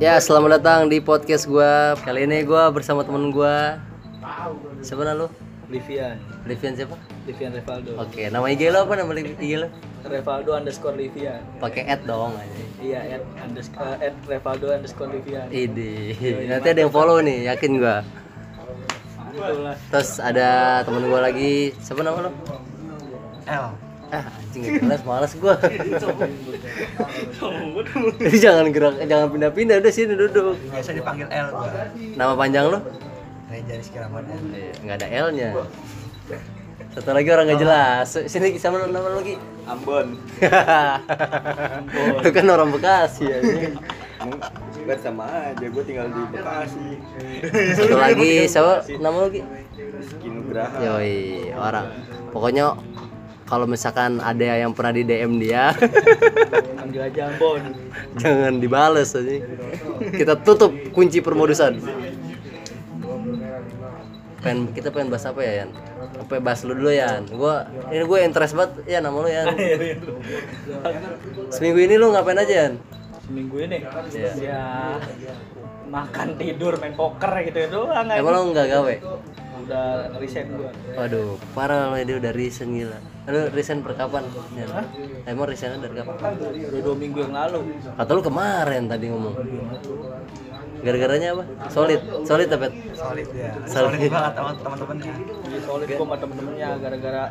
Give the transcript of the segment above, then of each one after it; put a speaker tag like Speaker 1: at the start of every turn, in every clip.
Speaker 1: Ya, selamat datang di podcast gua. Kali ini gua bersama temen gua. Siapa nama lu?
Speaker 2: Livian,
Speaker 1: Livian siapa?
Speaker 2: Livian Revaldo.
Speaker 1: Oke, nama IG lo apa nama li- IG lo?
Speaker 2: Revaldo underscore Livian.
Speaker 1: Pakai ad dong aja.
Speaker 2: Iya, at underscore at Revaldo underscore Livian.
Speaker 1: Iya. Ide. Nanti ada yang follow nih, yakin gua.
Speaker 2: Itulah.
Speaker 1: Terus ada temen gua lagi. Siapa nama lo?
Speaker 2: L.
Speaker 1: Ah, anjing gak jelas, males gua. Jadi jangan gerak, eh, jangan pindah-pindah, udah sini duduk.
Speaker 2: Biasa dipanggil L gua.
Speaker 1: Nama panjang lo?
Speaker 2: Reza Rizky Ramadan.
Speaker 1: Iya, nggak ada L-nya. Satu lagi orang nggak jelas. Sini sama lu nama lu lagi.
Speaker 3: Ambon
Speaker 1: Lu kan orang Bekasi ya.
Speaker 3: kan sama aja gue tinggal di Bekasi
Speaker 1: Satu lagi siapa nama lu lagi?
Speaker 3: Rizky Nugraha
Speaker 1: Yoi, orang. Pokoknya kalau misalkan ada yang pernah di DM dia,
Speaker 2: Panggil aja Ambon.
Speaker 1: jangan dibales aja. Kita tutup kunci permodusan. Pengen, kita pengen bahas apa ya Yan? Apa bahas lu dulu Yan? Gua ini gue interest banget ya nama lu Yan. Seminggu ini lu ngapain aja Yan?
Speaker 2: Seminggu ini
Speaker 1: Iya.
Speaker 2: ya makan tidur main poker gitu doang aja.
Speaker 1: Emang lo nggak gawe?
Speaker 2: udah resign gua
Speaker 1: Waduh, parah lo dia udah resign gila. Lu resign per kapan? Yan? Emang resign dari kapan?
Speaker 2: udah dua minggu yang lalu
Speaker 1: Kata lu kemarin tadi ngomong. Gara-garanya apa? Solid, solid apa?
Speaker 4: solid ya solid,
Speaker 1: Solid.
Speaker 4: banget sama teman-temannya
Speaker 2: jadi solid gua sama temen-temennya gara-gara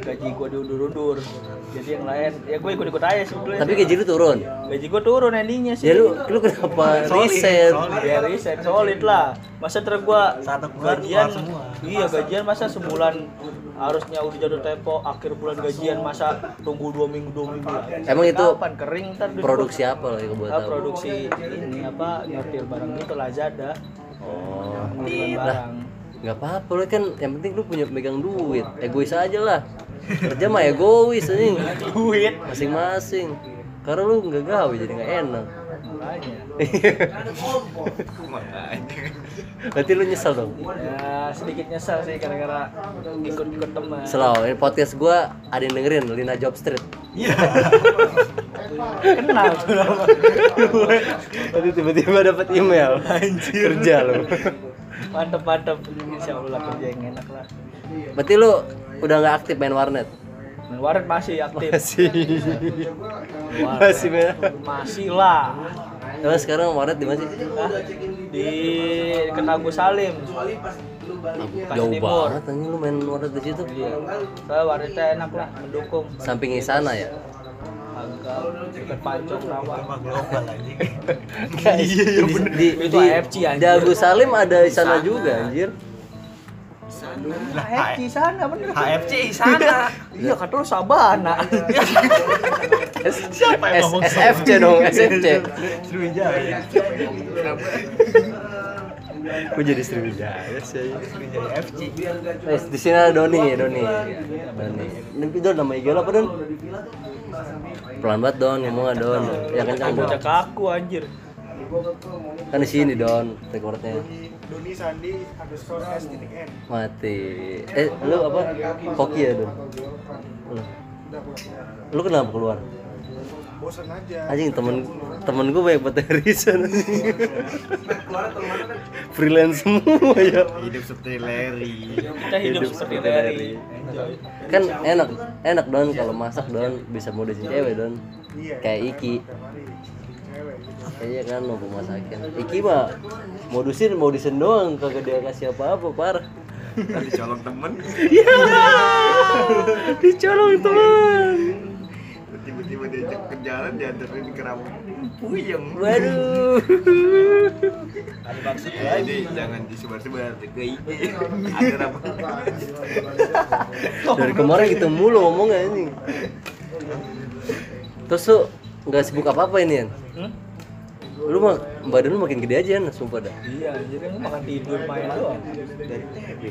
Speaker 2: gaji gua diundur-undur jadi yang lain ya gua ikut-ikut aja sebetulnya
Speaker 1: Tapi gaji lu turun.
Speaker 2: gaji gua turun endingnya sih
Speaker 1: Ya lu, lu kenapa resign?
Speaker 2: ya resign solid lah masa terus gua
Speaker 4: Satu bulan
Speaker 2: gajian
Speaker 4: keluar semua.
Speaker 2: iya gajian masa sebulan harusnya udah jatuh tempo akhir bulan gajian masa tunggu dua minggu dua minggu lagi.
Speaker 1: Emang itu
Speaker 2: kapan kering ntar duit gua.
Speaker 1: Produksi apa lo yang buat
Speaker 2: Ah,
Speaker 1: tahu?
Speaker 2: produksi ini apa nyortir barang gitu Lazada
Speaker 1: Oh,
Speaker 2: pengiriman barang
Speaker 1: nggak apa-apa lu kan yang penting lu punya megang duit. Egois aja lah. Kerja mah egois anjing.
Speaker 2: duit
Speaker 1: Masing-masing. Karena lu nggak gawe jadi nggak enak.
Speaker 2: makanya
Speaker 1: Berarti lu nyesel dong.
Speaker 2: ya sedikit nyesel sih gara-gara ikut-ikut teman
Speaker 1: Selalu ini podcast gua ada yang dengerin Lina Job Street.
Speaker 2: kenal tuh nama.
Speaker 1: Tadi tiba-tiba dapat email. Anjir. Kerja lu.
Speaker 2: mantep mantep insya Allah kerja yang enak lah
Speaker 1: Berarti lu udah nggak aktif main warnet?
Speaker 2: main warnet masih aktif
Speaker 1: Masih. Masih main.
Speaker 2: masih lah
Speaker 1: Emang sekarang warnet di mana sih?
Speaker 2: Hah? di Kenagu Salim Bekasi
Speaker 1: Jauh
Speaker 2: Timur.
Speaker 1: banget anjing lu main warnet di situ.
Speaker 2: iya saya warnetnya enak lah mendukung
Speaker 1: Samping sana ya.
Speaker 2: agak dekat Pancong Rawa
Speaker 4: sama global anjing
Speaker 1: Iya iya bener. Di, di,
Speaker 2: Itu AFC, anjir.
Speaker 1: Dagu Salim ada di sana juga anjir.
Speaker 4: lah
Speaker 2: HFC sana bener
Speaker 4: HFC sana
Speaker 2: iya kata lu Sabana
Speaker 4: siapa yang ngomong
Speaker 1: SFC dong, SFC.
Speaker 3: Iya,
Speaker 4: Sriwijaya
Speaker 1: Gue jadi Sriwijaya sih.
Speaker 4: Sriwijaya FC
Speaker 1: Eh, di sini ada Doni ya, Doni. Doni. Nanti Don nama IG lo apa Don? Pelan banget Don, ngomong ah, Don. Ya kencang Don.
Speaker 2: bocah kaku anjir
Speaker 1: Kan di sini Don, recordnya.
Speaker 5: Doni Sandi underscore S titik N
Speaker 1: Mati. Eh, lu apa? Koki ya Don. Lu. Lu kenapa keluar?
Speaker 5: bosan aja
Speaker 1: Anjing temen temen gue banyak banget yang resign, anjing.
Speaker 5: kan?
Speaker 1: Freelance semua ya.
Speaker 3: hidup seperti Larry
Speaker 2: kita hidup, seperti Larry Enjoy.
Speaker 1: Kan enak, enak Don kalau masak Don bisa modesin cewek Don.
Speaker 5: Iya,
Speaker 1: Kayak Iki.
Speaker 5: Mari cewek gitu.
Speaker 1: Iya kan mau masakin. Iki mah modusin modusin doang kagak dia kasih apa-apa parah.
Speaker 3: tadi colong temen
Speaker 1: Iya. Dicolong teman.
Speaker 3: tiba-tiba diajak ke jalan dianterin ke rawa puyeng
Speaker 1: Waduh.
Speaker 3: ya ini jangan disebar-sebar ke IG ada rawa
Speaker 1: Dari kemarin gitu mulu ngomong anjing. Terus lu nggak sibuk apa-apa ini, Yan?
Speaker 2: Hmm?
Speaker 1: Lu mah badan lu makin gede aja, Yan, sumpah dah.
Speaker 2: Iya, anjir kan makan tidur main doang.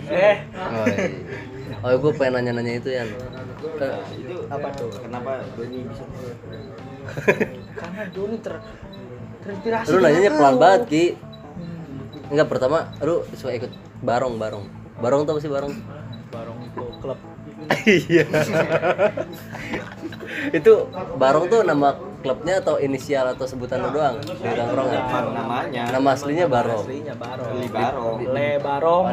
Speaker 2: Eh,
Speaker 1: Oh, iya. oh gue pengen nanya-nanya itu, Yan. Eh,
Speaker 3: itu apa tuh kenapa Doni bisa
Speaker 2: karena Doni ter terinspirasi.
Speaker 1: lu
Speaker 2: dengan
Speaker 1: nanyanya
Speaker 2: lu.
Speaker 1: pelan banget, Ki. Enggak, pertama lu suka ikut barong, barong. Barong tau sih barong?
Speaker 2: Barong itu klub.
Speaker 1: Iya. itu Barong tuh nama klubnya atau inisial atau sebutan lu doang di tongkrongan?
Speaker 6: Nama- namanya
Speaker 1: Nama aslinya Barong.
Speaker 2: Aslinya Barong.
Speaker 6: Li Barong.
Speaker 2: Le Barong.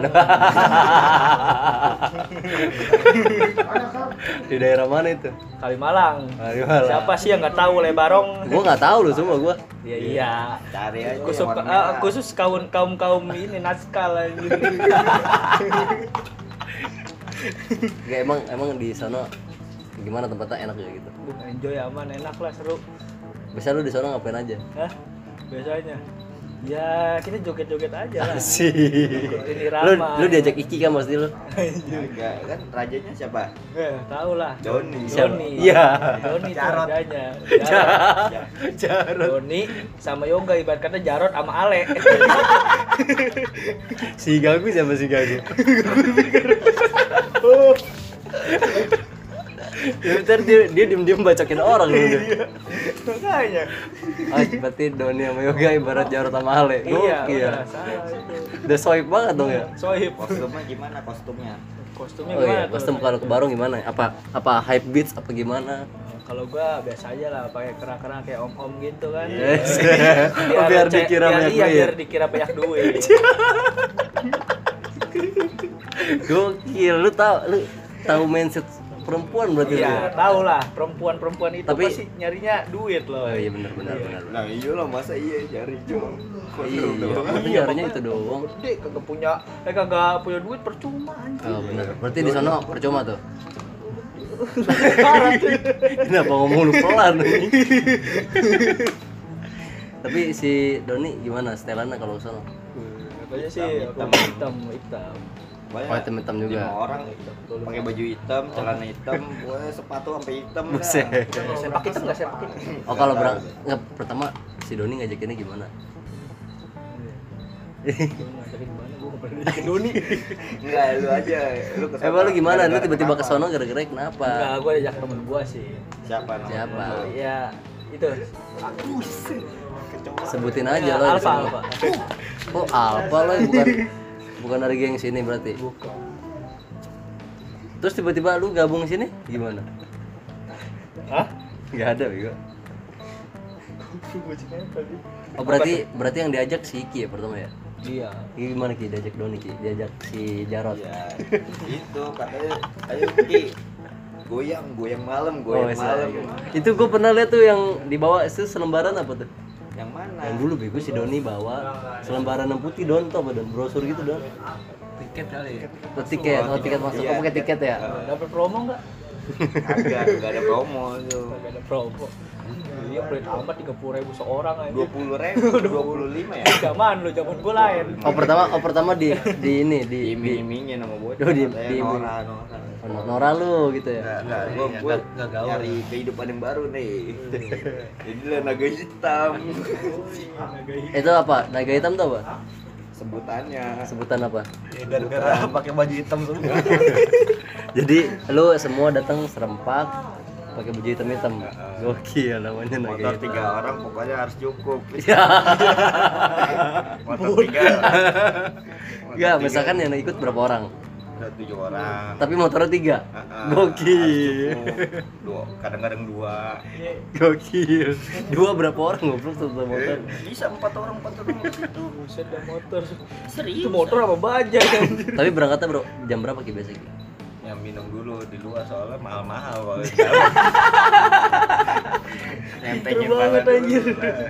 Speaker 1: di daerah mana itu?
Speaker 2: Kalimalang.
Speaker 1: Kalimalang.
Speaker 2: Siapa sih yang nggak tahu Le Barong?
Speaker 1: Gua nggak tahu lu semua gua.
Speaker 2: Iya iya.
Speaker 6: cari aja
Speaker 2: Khusus,
Speaker 1: Iya,
Speaker 6: yang warna
Speaker 2: eh,
Speaker 6: merah.
Speaker 2: khusus kaum kaum kaum ini naskah lah ini.
Speaker 1: Gak emang emang di sana gimana tempatnya enak ya gitu.
Speaker 2: Enjoy aman enak lah seru.
Speaker 1: Bisa lu di sana ngapain aja?
Speaker 2: Hah? Biasanya. Ya kita joget-joget aja lah.
Speaker 1: Sih.
Speaker 2: Ini
Speaker 1: Lu
Speaker 2: ramai.
Speaker 1: lu diajak Iki kan pasti lu.
Speaker 6: Enggak, kan rajanya siapa?
Speaker 2: Eh, tahu lah.
Speaker 6: Doni.
Speaker 1: Siapa?
Speaker 2: Doni.
Speaker 1: Iya.
Speaker 2: Doni itu
Speaker 7: Jarot.
Speaker 2: adanya.
Speaker 6: Ya,
Speaker 1: Jarot.
Speaker 2: Doni sama Yoga ibarat kata Jarot sama Ale.
Speaker 1: Si Gagu siapa si Gagu? ya bentar dia, dia diem-diem bacokin orang lu udah. Iya.
Speaker 2: Makanya.
Speaker 1: Oh, berarti Doni sama Yoga ibarat Jarot sama Ale.
Speaker 2: Iya,
Speaker 1: Gokil.
Speaker 2: udah salah itu.
Speaker 1: Udah soib banget dong ya.
Speaker 2: Sohib.
Speaker 6: Kostumnya gimana kostumnya?
Speaker 2: Kostumnya
Speaker 1: Oh iya,
Speaker 2: tuh?
Speaker 1: custom kalau ke Barong gimana? Apa apa hype beats apa gimana?
Speaker 2: Eh, Kalau gua biasa aja lah pakai kerah-kerah kayak om-om gitu kan.
Speaker 1: Yes. Iya. Oh, biar
Speaker 2: ce-
Speaker 1: dikira
Speaker 2: biar-
Speaker 1: banyak
Speaker 2: iya,
Speaker 1: duit. Iya,
Speaker 2: biar dikira banyak duit.
Speaker 1: Gokil, lu tau lu tahu mindset perempuan berarti lu. ya?
Speaker 2: Iya, tahu lah perempuan-perempuan itu
Speaker 1: Tapi-
Speaker 2: pasti nyarinya duit loh.
Speaker 1: Oh iya benar benar benar.
Speaker 6: Nah, iya lah masa iya cari cuma
Speaker 1: Iya,
Speaker 2: Iya,
Speaker 1: penyiarnya itu doang.
Speaker 2: Gede kagak punya, eh kagak punya duit percuma anjing.
Speaker 1: Oh, benar. Berarti di sana percuma tuh.
Speaker 2: Parah tuh.
Speaker 1: Kenapa ngomong lu pelan ini? Tapi si Doni gimana setelannya kalau ke sana?
Speaker 2: Katanya sih hitam hitam hitam.
Speaker 6: Banyak
Speaker 1: Oh, hitam-hitam juga.
Speaker 2: Iya.
Speaker 6: lima orang pakai baju hitam, celana hitam, wah, sepatu sampai hitam. dah.
Speaker 1: Buset.
Speaker 2: Sepak hitam nggak sepak hitam.
Speaker 1: Oh kalau berang nggak, pertama si Doni ngajakinnya gimana?
Speaker 2: Doni.
Speaker 6: Enggak, lu aja. Lu kesana.
Speaker 1: Eh lu gimana? Lu
Speaker 6: Gara-gara
Speaker 1: tiba-tiba ke
Speaker 6: kenapa?
Speaker 1: sono gara-gara kenapa?
Speaker 2: Enggak, gue ajak temen gue sih.
Speaker 6: Siapa? namanya?
Speaker 1: Siapa?
Speaker 2: Iya, itu. Iya,
Speaker 1: Sebutin aja lo.
Speaker 2: Alfa, Alfa.
Speaker 1: Oh Alfa lo bukan bukan dari geng sini berarti.
Speaker 2: Bukan.
Speaker 1: Terus tiba-tiba lu gabung sini gimana?
Speaker 2: Hah?
Speaker 1: Gak ada bego. Oh berarti berarti yang diajak si Iki ya pertama ya?
Speaker 2: Iya.
Speaker 1: Iki gimana Ki diajak Doni Ki? Diajak si Jarot.
Speaker 6: Ya, itu katanya ayo pergi. Goyang, goyang malam, goyang
Speaker 1: iya.
Speaker 6: malam.
Speaker 1: Itu gue pernah lihat tuh yang dibawa itu selembaran apa tuh?
Speaker 6: Yang mana?
Speaker 1: Yang dulu bego si Doni bawa selembaran yang putih Don tau apa Don? Brosur gitu Don.
Speaker 7: tiket kali ya
Speaker 1: Oh, tiket, oh tiket masuk,
Speaker 6: Iya,
Speaker 1: oh pakai tiket ya?
Speaker 2: Dapat promo nggak?
Speaker 6: Kagak, enggak ada promo itu.
Speaker 2: Kagak ada promo. Iya, pelit amat tiga puluh ribu seorang aja.
Speaker 6: dua puluh ribu dua puluh lima ya
Speaker 2: Zaman lu, zaman gue lain.
Speaker 1: Oh pertama, oh pertama di di ini di di
Speaker 6: diiming-imingin sama bocah
Speaker 1: Duh, Oh, di-
Speaker 6: katanya
Speaker 1: di-
Speaker 6: Nora Nora
Speaker 1: oh, Nora lu gitu ya?
Speaker 6: Nggak, nggak, gua gua
Speaker 7: Iya, nggak gaul.
Speaker 6: nyari kehidupan yang baru nih jadi lah naga hitam
Speaker 1: Itu apa? Naga hitam tuh apa?
Speaker 6: sebutannya
Speaker 1: Sebutan apa?
Speaker 7: Ya, gara-gara pakai baju hitam semua
Speaker 1: Jadi lu semua datang serempak pakai baju hitam hitam. Gokil namanya naga
Speaker 6: motor
Speaker 1: hitam.
Speaker 6: tiga orang pokoknya harus cukup
Speaker 8: Motor tiga.
Speaker 7: Iya,
Speaker 1: Enggak, misalkan yang ikut berapa orang?
Speaker 6: ada tujuh orang
Speaker 1: Tapi motornya tiga.
Speaker 6: Ah, ah,
Speaker 1: Gokil.
Speaker 6: harus cukup. dua kadang-kadang dua
Speaker 2: Iya,
Speaker 1: Gokil. Dua berapa orang ngobrol satu motor?
Speaker 6: bisa empat orang empat orang gitu.
Speaker 2: Buset dah motor. Serius? Itu motor apa bajaj anjir?
Speaker 1: Tapi berangkatnya bro jam berapa ki biasanya? Ki?
Speaker 6: yang Ya, minum dulu di luar soalnya mahal-mahal kalau
Speaker 2: Pinter banget, anjir.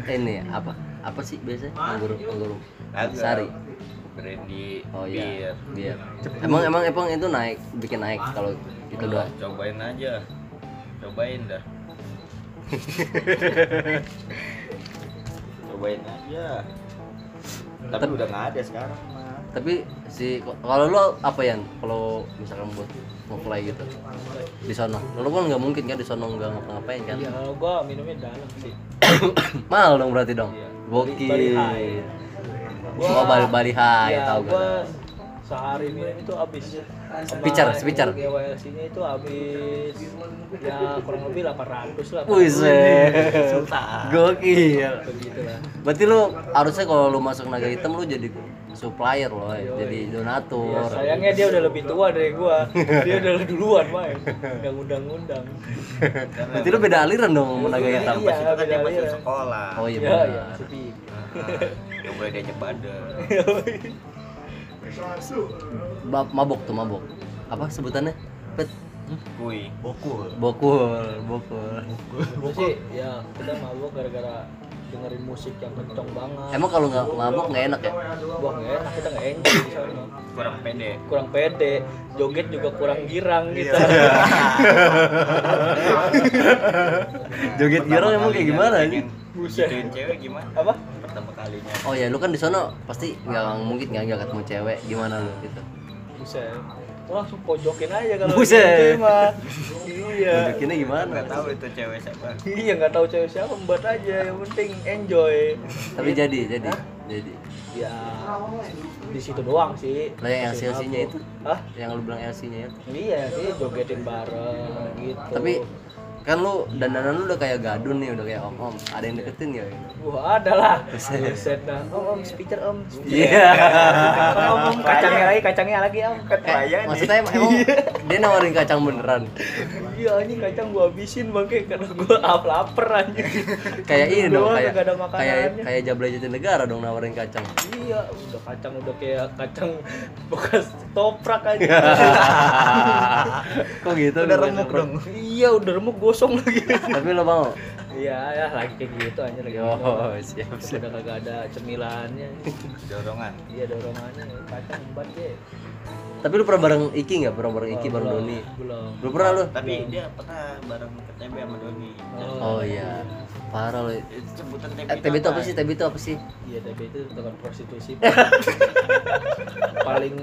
Speaker 1: Eh, Ini apa? Apa sih biasanya? Anggur, anggur. Sari.
Speaker 6: Sari Brandy
Speaker 1: Oh
Speaker 6: Beer
Speaker 1: iya. Iya. Emang emang emang itu naik, bikin naik kalau itu
Speaker 9: Ah,
Speaker 6: Udah,
Speaker 1: doang.
Speaker 6: cobain aja cobain dah cobain aja tapi
Speaker 1: Tapi-
Speaker 6: udah nggak ada sekarang mah
Speaker 1: Tapi si kalau lu apa ya? Kalau misalkan buat ngeplay gitu di sono. Lu kan nggak mungkin kan di sono nggak ngapa-ngapain kan?
Speaker 2: Ya kalau gua minumnya dalam sih.
Speaker 1: Mahal dong berarti dong.
Speaker 2: Iya. Bali
Speaker 1: Gokil.
Speaker 2: High.
Speaker 1: Oh Bali Bali High,
Speaker 2: ya,
Speaker 1: tahu
Speaker 2: gua
Speaker 1: gak?
Speaker 2: sehari minum itu habis.
Speaker 1: Speaker, speaker.
Speaker 2: GWS ini itu habis ya kurang lebih 800 lah.
Speaker 1: Buset.
Speaker 4: Sultan.
Speaker 1: Gokil.
Speaker 2: Begitu lah.
Speaker 1: Berarti lu harusnya kalau lu masuk naga hitam lu jadi supplier loh, ya.
Speaker 2: Yoi.
Speaker 1: jadi
Speaker 2: Ya,
Speaker 1: donatur.
Speaker 2: sayangnya dia udah lebih tua dari gua. Dia udah duluan main. Nggak undang-undang.
Speaker 1: Berarti lu beda aliran dong sama naga hitam.
Speaker 2: Iya,
Speaker 9: Pas itu kan dia
Speaker 2: beda
Speaker 9: masih
Speaker 2: aliran.
Speaker 9: sekolah.
Speaker 1: Oh iya
Speaker 2: Ya,
Speaker 1: benar.
Speaker 2: ya, sepi.
Speaker 9: Nah, Nggak boleh diajak badan.
Speaker 1: Ba- Mabok tuh mabok. Apa sebutannya? Pet.
Speaker 9: Kui. Oh,
Speaker 4: Bokul.
Speaker 1: Bokul, bokul.
Speaker 2: Itu sih ya kita mabuk gara-gara dengerin musik yang kenceng banget.
Speaker 1: Emang kalau nggak mabok nggak enak ya?
Speaker 2: Wah nggak enak kita nggak enjoy di sana.
Speaker 9: Kurang pede.
Speaker 2: Kurang pede, joget juga kurang
Speaker 1: Iya.
Speaker 2: girang gitu.
Speaker 1: Joget girang emang kayak gimana
Speaker 9: ini?
Speaker 1: ini?
Speaker 2: Buset.
Speaker 9: Gituin cewek gimana?
Speaker 2: Apa?
Speaker 9: Pertama kalinya.
Speaker 1: Oh ya, lu kan di sono pasti nggak mungkin nggak nggak ketemu cewek. Gimana lu gitu?
Speaker 2: Buset. Gua langsung pojokin aja kalau
Speaker 1: Buset.
Speaker 2: gitu, mah. Iya.
Speaker 1: Jogetnya gimana?
Speaker 9: Kan Nggak tahu itu cewek siapa.
Speaker 2: Iya nggak tahu cewek siapa membuat aja yang penting enjoy.
Speaker 1: Tapi jadi, jadi, jadi.
Speaker 2: Ya di situ doang sih.
Speaker 1: Lah yang
Speaker 2: Masih
Speaker 1: LCLC-nya
Speaker 2: mabuk.
Speaker 1: itu?
Speaker 2: Hah?
Speaker 1: Yang lu bilang LC-nya itu.
Speaker 2: Iya sih jogetin bareng gitu.
Speaker 1: Tapi kan lu dandanan lu udah kayak gadun nih, udah kayak om-om. Ada yang deketin ya?
Speaker 2: Wah, ada lah. Buset dah. Om, om, speaker om.
Speaker 1: Iya.
Speaker 2: Om, om, om, kacangnya lagi, kacangnya lagi om.
Speaker 1: Eh, maksudnya emang, emang dia nawarin kacang beneran.
Speaker 2: Iya, anjing kacang gua habisin bangke karena gua ap- lapar anjing.
Speaker 1: Kayak ini dong,
Speaker 2: Doang,
Speaker 1: kayak
Speaker 2: nggak ada
Speaker 1: kayak
Speaker 2: makanannya.
Speaker 1: kayak jablay negara dong nawarin kacang.
Speaker 2: Iya, udah kacang udah kayak kacang bekas toprak aja.
Speaker 1: Iya. Kok gitu?
Speaker 4: Udah
Speaker 1: Lu
Speaker 4: remuk
Speaker 1: bener-bener.
Speaker 4: dong.
Speaker 2: iya, udah remuk gosong lagi.
Speaker 1: Tapi lo mau?
Speaker 2: Iya, ya lagi kayak gitu anjir lagi.
Speaker 1: Yo,
Speaker 2: minum.
Speaker 1: siap siap.
Speaker 2: Udah kagak ada cemilannya.
Speaker 9: Dorongan.
Speaker 2: Iya, dorongannya kacang empat deh.
Speaker 1: Tapi lu pernah bareng Iki nggak? Pernah bareng Iki, bareng
Speaker 2: Belum,
Speaker 1: Doni?
Speaker 2: Belum.
Speaker 1: Belum pernah lu?
Speaker 9: Tapi dia pernah bareng ke TB sama Doni.
Speaker 1: Oh iya, parah lu.
Speaker 9: Itu sebutan TB
Speaker 1: Eh,
Speaker 9: itu
Speaker 1: TB itu apa
Speaker 9: apa?
Speaker 1: sih? TB itu apa sih?
Speaker 2: Iya, tapi itu bukan prostitusi. Pak. paling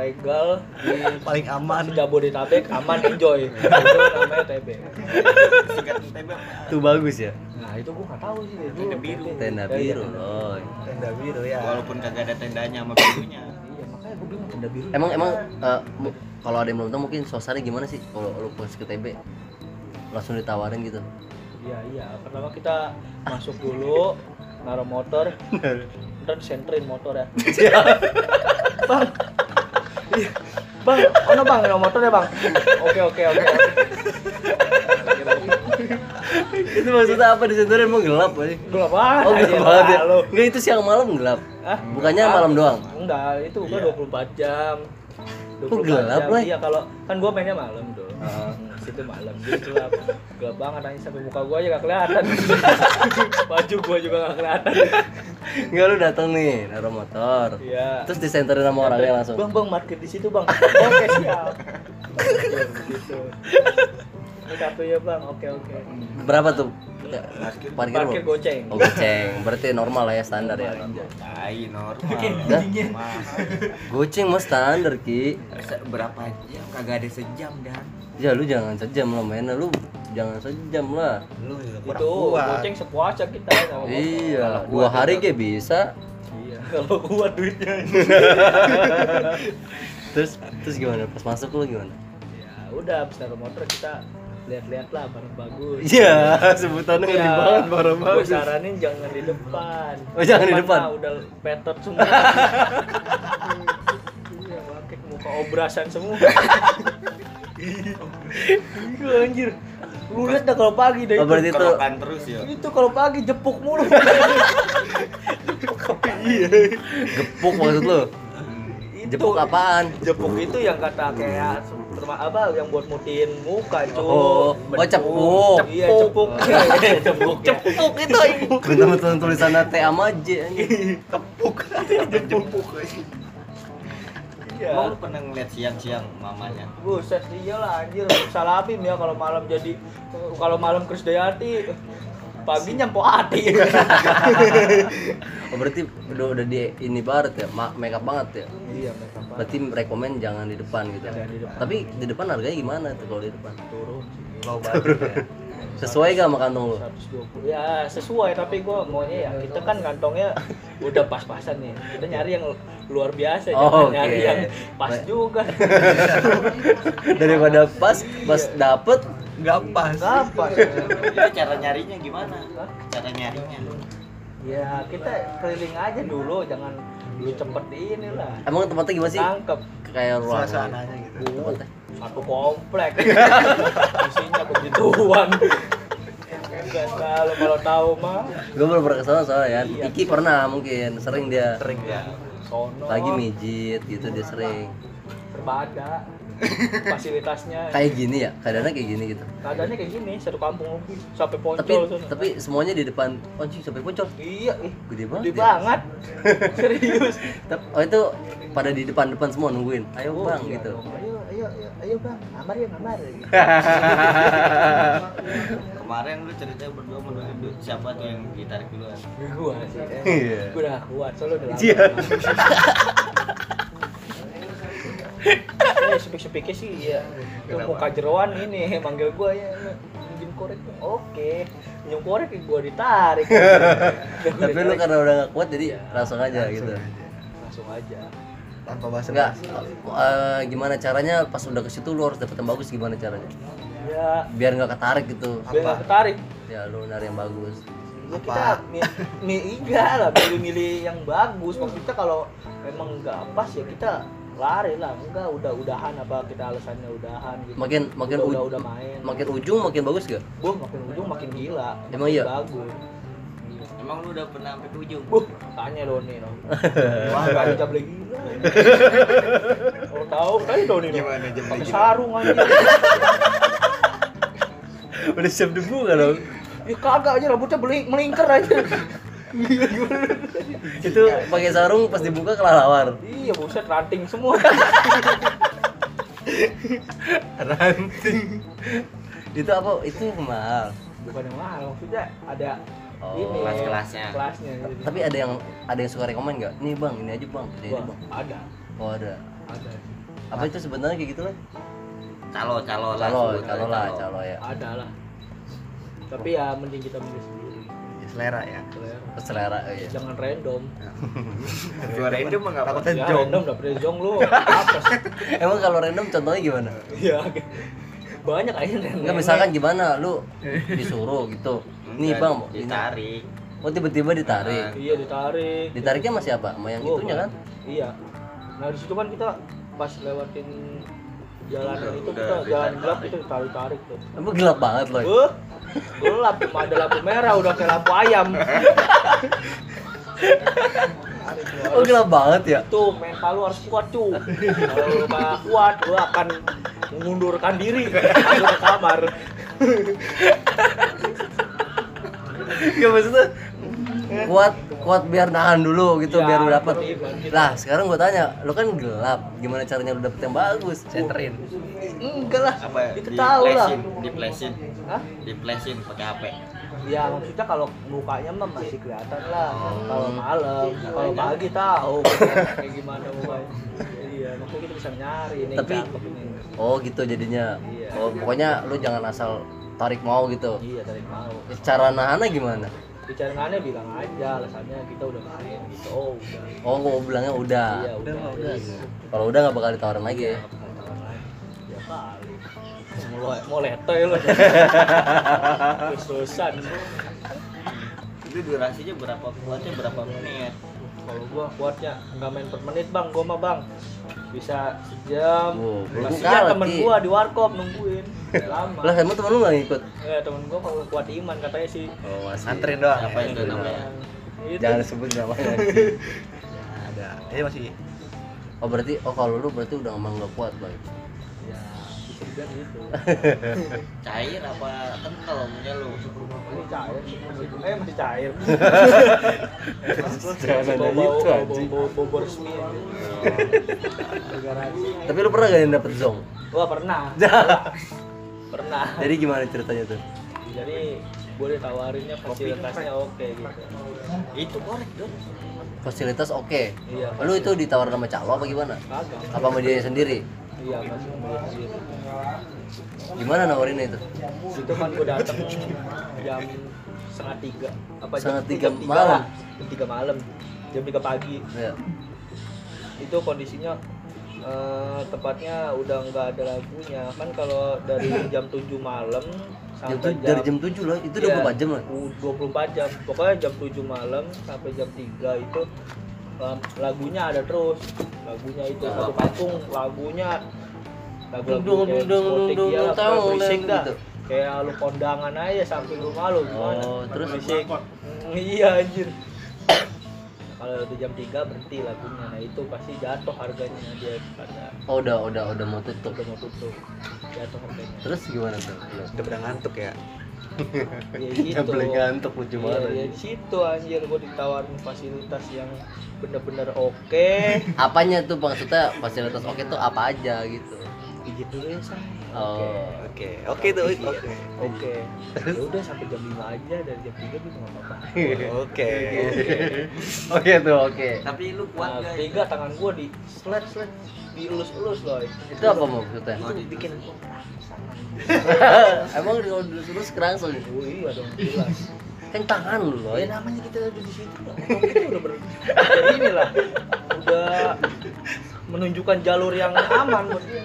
Speaker 2: legal di
Speaker 4: Paling aman.
Speaker 2: di Jabodetabek aman enjoy. itu namanya TB.
Speaker 9: Singkatan TB apa?
Speaker 1: Itu bagus ya.
Speaker 2: Nah, itu Iya, gua nggak tahu sih dari dulu.
Speaker 9: Tenda biru.
Speaker 1: Tenda biru oh. loh.
Speaker 4: Tenda biru ya.
Speaker 9: Walaupun kagak ada tendanya sama birunya.
Speaker 2: Iya, makanya gua bilang tenda biru.
Speaker 1: Emang emang eh, mu- kalau ada yang belum tahu mungkin suasananya gimana sih kalau lu pas ke TB langsung ditawarin gitu.
Speaker 2: Iya, iya. Pertama kita masuk dulu naruh motor, ntar disenterin motor ya. bang, Iya. bang, ono bang, naruh motor ya bang. Oke, oke, oke.
Speaker 1: itu maksudnya apa di senturin emang gelap aja.
Speaker 2: Gelap banget.
Speaker 1: Oh
Speaker 2: anjir,
Speaker 1: gelap banget ya.
Speaker 2: lah, lu.
Speaker 1: Enggak itu siang malam gelap.
Speaker 2: Hah?
Speaker 1: Bukannya malam doang.
Speaker 2: Enggak, itu gua 24 jam.
Speaker 1: Iya. Kok gelap, Ah.
Speaker 2: jam.
Speaker 1: Lai?
Speaker 2: Iya, kalau kan gua mainnya malam dong. Hmm, situ malam, jadi gelap. gelap banget anjing sampai muka gua aja gak kelihatan. Baju gua juga gak kelihatan.
Speaker 1: Enggak lu datang nih naruh motor.
Speaker 2: Iya.
Speaker 1: Terus disenterin sama orangnya langsung.
Speaker 2: Bang, bang, market di situ, Bang. Oke, siap. Iya, begitu. Ini kartunya, Bang. Oke, oke.
Speaker 1: Berapa tuh? Ya, Parkir, berapa?
Speaker 2: Parkir goceng.
Speaker 1: Oh goceng, berarti normal lah ya standar ya.
Speaker 9: Tai normal.
Speaker 1: Dah.
Speaker 9: Mahal.
Speaker 1: Goceng mah standar ki.
Speaker 9: Se- Berapa jam? Kagak ada sejam dan.
Speaker 1: Ya lu jangan sejam lah mainnya lu jangan sejam lah.
Speaker 4: Lu juga kurang
Speaker 2: Itu goceng sepuasa kita sama motor.
Speaker 1: Iya, dua hari kayak bisa.
Speaker 2: Iya, kalau kuat duitnya.
Speaker 1: Terus terus gimana? Pas masuk lu gimana?
Speaker 2: ya udah abis naruh motor kita lihat-lihat lah barang bagus
Speaker 1: Iya, sebutannya
Speaker 2: Ya,
Speaker 1: ngerti banget bareng
Speaker 2: gua
Speaker 1: banget.
Speaker 2: saranin jangan di depan
Speaker 1: Oh, jangan di depan.
Speaker 2: mah udah petot semua iya pakai muka obrasan semua Iya anjir lu lihat dah kalau pagi dah
Speaker 1: Oh,
Speaker 2: itu
Speaker 1: berarti itu
Speaker 9: Kerokan terus ya.
Speaker 2: itu kalau pagi jepuk mulu
Speaker 1: gepuk maksud lu?
Speaker 2: Itu.
Speaker 1: Iya. Jepuk apaan?
Speaker 2: jepuk itu yang kata kayak terma apa yang buat mutiin muka cuy
Speaker 1: Oh, oh cepuk.
Speaker 2: iya cepuk cepuk
Speaker 1: ya.
Speaker 2: cepuk itu
Speaker 1: Betul-betul tulisannya T sama J anjing.
Speaker 3: Jempuk
Speaker 2: iya
Speaker 9: Emang lu pernah ngeliat siang-siang mamanya?
Speaker 2: Buset iyalah anjir salapim ya kalau malam jadi kalau malam Krisdayanti paginya Mpo Ati.
Speaker 1: Oh, berarti udah, udah di ini banget ya, ma- make up banget ya.
Speaker 2: iya mereka Pak.
Speaker 1: Berarti rekomend jangan di depan gitu.
Speaker 2: Jangan di depan.
Speaker 1: Tapi di depan harganya gimana tuh kalau di depan?
Speaker 2: turun
Speaker 4: low budget ya.
Speaker 1: Sesuai gak sama kantong lu?
Speaker 2: 120 ya sesuai tapi gua maunya ya kita kan kantongnya udah pas-pasan nih kita nyari yang luar biasa
Speaker 1: Oh,
Speaker 2: jangan nyari
Speaker 1: oke.
Speaker 2: yang pas
Speaker 1: Ba-
Speaker 2: juga
Speaker 1: daripada pas pas dapet
Speaker 4: Nggak pas.
Speaker 2: apa
Speaker 9: Itu cara nyarinya gimana? Cara nyarinya.
Speaker 2: ya kita keliling aja dulu jangan lu cepet ini lah
Speaker 1: emang tempatnya gimana sih
Speaker 2: tangkep
Speaker 1: kayak ruang
Speaker 4: Suasananya gitu.
Speaker 1: tempatnya
Speaker 2: satu komplek isinya begituan enggak kalau kalau tahu mah
Speaker 1: gue belum pernah kesana soalnya kan. Iki pernah mungkin sering dia
Speaker 4: Sering ya.
Speaker 2: sono
Speaker 1: lagi mijit gitu dia sering
Speaker 2: serba ada fasilitasnya
Speaker 1: kayak gini ya keadaannya kayak gini gitu
Speaker 2: keadaannya kayak gini satu kampung lebih sampai
Speaker 1: tapi
Speaker 2: poncol sono.
Speaker 1: tapi semuanya di depan Oh, anjing sampai pocor
Speaker 2: iya ih
Speaker 1: gede banget
Speaker 2: gede
Speaker 1: ya.
Speaker 2: banget serius
Speaker 1: Tep- oh itu pada di depan-depan semua nungguin ayo
Speaker 2: Oh,
Speaker 1: bang
Speaker 2: iya
Speaker 1: gitu
Speaker 2: dong. ayo ayo ayo, ayo bang kamar ya kamar
Speaker 9: Kemarin lu ceritanya berdua menurut lu siapa tuh yang ditarik duluan?
Speaker 2: gua sih
Speaker 4: Iya.
Speaker 2: gua udah kuat soalnya udah lama
Speaker 1: Iya.
Speaker 2: Eh, sepik-sepiknya sih ya tuh muka jeroan ini manggil gua ya minjem korek dong. oke minjem korek gua ditarik Gua
Speaker 1: tapi lu
Speaker 2: ditarik.
Speaker 1: karena udah gak kuat jadi
Speaker 2: Iya.
Speaker 1: langsung aja gitu
Speaker 2: langsung aja
Speaker 4: Tanpa bahasa
Speaker 1: enggak eh, gimana caranya pas udah ke situ lu harus dapet yang bagus gimana caranya
Speaker 2: ya
Speaker 1: biar nggak ketarik gitu
Speaker 2: biar nggak ketarik
Speaker 1: ya lu nyari yang bagus
Speaker 2: ya kita mi- mi- enggak lah milih-milih yang bagus maksudnya kalau memang nggak pas ya kita lari lah enggak udah udahan apa kita alasannya udahan gitu
Speaker 1: makin makin
Speaker 2: udah,
Speaker 1: uj-
Speaker 2: udah, udah main
Speaker 1: makin ujung makin bagus gak
Speaker 2: Wah, makin ujung makin gila
Speaker 1: Emang
Speaker 2: makin
Speaker 1: iya?
Speaker 2: bagus
Speaker 9: Emang lu udah pernah sampai ke ujung?
Speaker 2: Buh, tanya Doni dong. Wah, kan jam lagi gila. Kalau tahu, tanya Doni dong.
Speaker 3: Gimana jam
Speaker 2: Pakai
Speaker 3: lagi?
Speaker 2: sarung aja.
Speaker 1: udah siap debu gak lo
Speaker 2: Ya kagak aja rambutnya beling melingkar aja. Gila gimana?
Speaker 1: itu pakai sarung pas dibuka kelalawar
Speaker 2: Iya, buset ranting semua.
Speaker 1: ranting itu apa itu yang mahal
Speaker 2: Bukan yang mahal, maksudnya ada
Speaker 1: Oh,
Speaker 2: ini
Speaker 9: kelas-kelasnya.
Speaker 2: Kelasnya. gitu.
Speaker 1: Ta- tapi ada yang ada yang suka rekomen gak nih bang ini aja bang ini aja
Speaker 2: Wah,
Speaker 1: bang
Speaker 2: ada.
Speaker 1: oh ada
Speaker 2: Ada.
Speaker 1: apa itu sebenarnya kayak gitu lah
Speaker 9: Calo, calo lah.
Speaker 1: calo
Speaker 9: sebut
Speaker 1: calo
Speaker 9: aja
Speaker 1: lah
Speaker 9: calo.
Speaker 1: calo ya
Speaker 2: Ada lah. Tapi ya mending kita milih sendiri.
Speaker 4: Selera ya.
Speaker 2: Selera.
Speaker 1: selera oh iya.
Speaker 2: Jangan random.
Speaker 3: Suara itu mah nggak apa-apa.
Speaker 4: Takutnya
Speaker 2: Ya,
Speaker 4: jong.
Speaker 2: random dapetnya jong lu. Apa sih?
Speaker 1: emang kalau random contohnya gimana
Speaker 2: Iya. Banyak aja yang
Speaker 1: Enggak misalkan gimana lu disuruh gitu nih
Speaker 9: Enggak,
Speaker 1: bang mau ini.
Speaker 9: ditarik.
Speaker 1: oh tiba-tiba ditarik
Speaker 2: Iya ditarik.
Speaker 1: ditariknya masih apa sama yang
Speaker 2: Gua,
Speaker 1: itunya
Speaker 2: Bang.
Speaker 1: kan
Speaker 2: Iya. Nah di situ kan kita pas lewatin jalan
Speaker 1: Iya,
Speaker 9: Udah,
Speaker 2: itu
Speaker 9: udah
Speaker 2: kita jalan gelap
Speaker 9: ditarik-tarik.
Speaker 2: itu ditarik tarik tuh.
Speaker 1: emang gelap banget loh
Speaker 2: Eh, gelap cuma ada lampu merah udah kayak lampu ayam.
Speaker 1: oh gelap banget ya
Speaker 2: Tuh mental lu harus kuat cu. Kalau lu nggak kuat lu akan mengundurkan diri masuk ke kamar.
Speaker 1: Gak maksudnya kuat kuat biar nahan dulu gitu
Speaker 2: Eh. Ya,
Speaker 1: biar lu dapet
Speaker 2: iya, Bang.
Speaker 1: lah sekarang gua tanya lu kan gelap gimana caranya lu dapet yang bagus centerin
Speaker 2: Enggak lah.
Speaker 9: Apa?
Speaker 2: Itu tahu lah.
Speaker 9: Diplesin, diplesin,
Speaker 2: Hah?
Speaker 9: diplesin pakai HP.
Speaker 2: Ya maksudnya kalau mukanya mah masih kelihatan lah. Kalau malam, kalau pagi tahu kayak gimana mukanya. Iya, maksudnya kita bisa nyari ini
Speaker 1: Tapi-
Speaker 2: cakep ini.
Speaker 1: oh gitu jadinya
Speaker 2: Iya.
Speaker 1: oh pokoknya lu jangan asal tarik mau gitu
Speaker 2: Iya, tarik mau.
Speaker 1: cara nahannya gimana
Speaker 2: Bicaranya bilang aja alasannya kita udah main gitu. Oh, udah.
Speaker 1: oh gua bilangnya udah
Speaker 2: Iya, udah. udah.
Speaker 1: kalau udah nggak bakal ditawarin lagi ya
Speaker 2: Ya kali. Mau mau letoy lu. Kesusahan.
Speaker 9: Itu durasinya berapa kuatnya berapa menit?
Speaker 2: Kalau gua kuatnya nggak main per menit, Bang. Gua mah, Bang. Bisa sejam.
Speaker 1: Wow, lu
Speaker 2: Kasihan
Speaker 1: kalah,
Speaker 2: temen
Speaker 1: Ki.
Speaker 2: gua di warkop nungguin lama.
Speaker 1: lah emang temen lu nggak ngikut
Speaker 2: Eh, temen gua kalau kuat iman katanya sih.
Speaker 1: oh
Speaker 4: Santrin doang.
Speaker 9: Apa itu namanya?
Speaker 1: Nah.
Speaker 2: Itu.
Speaker 1: jangan sebut namanya
Speaker 4: Ya, ada. Ini masih
Speaker 1: oh berarti oh kalau lu berarti udah emang nggak kuat bang
Speaker 2: Ya, bisa dibilang gitu.
Speaker 9: Cair apa kental punya lu?
Speaker 2: Ini cair. masih- Eh, masih cair.
Speaker 1: Jangan
Speaker 2: Bau-
Speaker 1: nanya itu,
Speaker 2: bau- bau-
Speaker 1: anjing.
Speaker 2: bau- bau- bau resmi aja. Negara-
Speaker 1: tapi lu pernah gak yang dapet zong
Speaker 2: Wah, pernah. Pernah.
Speaker 1: jadi gimana ceritanya tuh
Speaker 2: Jadi boleh tawarinnya fasilitasnya oke gitu.
Speaker 9: Itu korek dong.
Speaker 1: fasilitas oke
Speaker 2: Iya.
Speaker 1: lu itu ditawarin sama calo apa gimana
Speaker 2: Kagak.
Speaker 1: apa sama dia sendiri
Speaker 2: Iya, masih belum sih.
Speaker 1: gimana nawarinnya itu
Speaker 2: itu kan gue datang jam setengah tiga apa
Speaker 1: Setengah
Speaker 2: jam
Speaker 1: tiga
Speaker 2: jam
Speaker 1: malam. Iya.
Speaker 2: lah. jam tiga malam jam tiga pagi
Speaker 1: ya.
Speaker 2: itu kondisinya eh, tempatnya udah nggak ada lagunya kan kalau dari jam 7 malam
Speaker 1: Jam tujuh,
Speaker 2: sampai jam,
Speaker 1: dari jam 7 lah, itu udah
Speaker 2: Iya,
Speaker 1: berapa jam lah?
Speaker 2: u- 24 jam pokoknya jam 7 malam sampai jam 3 itu um, lagunya ada terus lagunya itu satu kampung lagunya lagu-lagu
Speaker 1: Dung,
Speaker 2: kayak
Speaker 1: dung, dung,
Speaker 2: diskotik
Speaker 1: dung,
Speaker 2: ya
Speaker 1: dung, tahu,
Speaker 2: berisik
Speaker 1: gitu.
Speaker 2: dah kayak lu kondangan aja samping rumah lu gimana
Speaker 1: Oh, terus
Speaker 2: berisik Mm, iya anjir kalau udah jam 3 berhenti lagunya nah itu pasti jatuh harganya dia pada
Speaker 1: Oh, udah udah udah mau tutup.
Speaker 2: udah mau tutup jatuh harganya
Speaker 1: Terus gimana tuh?
Speaker 4: Udah pada ngantuk ya.
Speaker 2: ya
Speaker 1: Udah
Speaker 2: gitu
Speaker 1: boleh ngantuk lucu
Speaker 2: Iya, ya
Speaker 1: banget.
Speaker 2: di situ anjir gue ditawarin fasilitas yang bener-bener oke.
Speaker 1: Apanya tuh maksudnya fasilitas oke tuh apa aja gitu?
Speaker 2: Pijit dulu ya say. Oke.
Speaker 1: Oh,
Speaker 4: Oke, oke tuh.
Speaker 9: Iya.
Speaker 4: Oke.
Speaker 2: Oke. Ya udah sampai jam 5 aja dari jam 3 gitu enggak apa-apa.
Speaker 4: Oke.
Speaker 1: oke tuh oke.
Speaker 9: Tapi lu
Speaker 2: Nah,
Speaker 9: kuat gak?
Speaker 2: tiga tangan gue di slet slet dielus-elus loh.
Speaker 1: Itu apa maksudnya?
Speaker 2: Itu bikin
Speaker 1: Emang kalau disuruh sekarang soalnya
Speaker 2: Oh iya dong jelas.
Speaker 1: kan tangan lu loh.
Speaker 2: Ya namanya kita udah di situ loh. Kita udah ber ya, inilah. Udah menunjukkan jalur yang aman buat dia.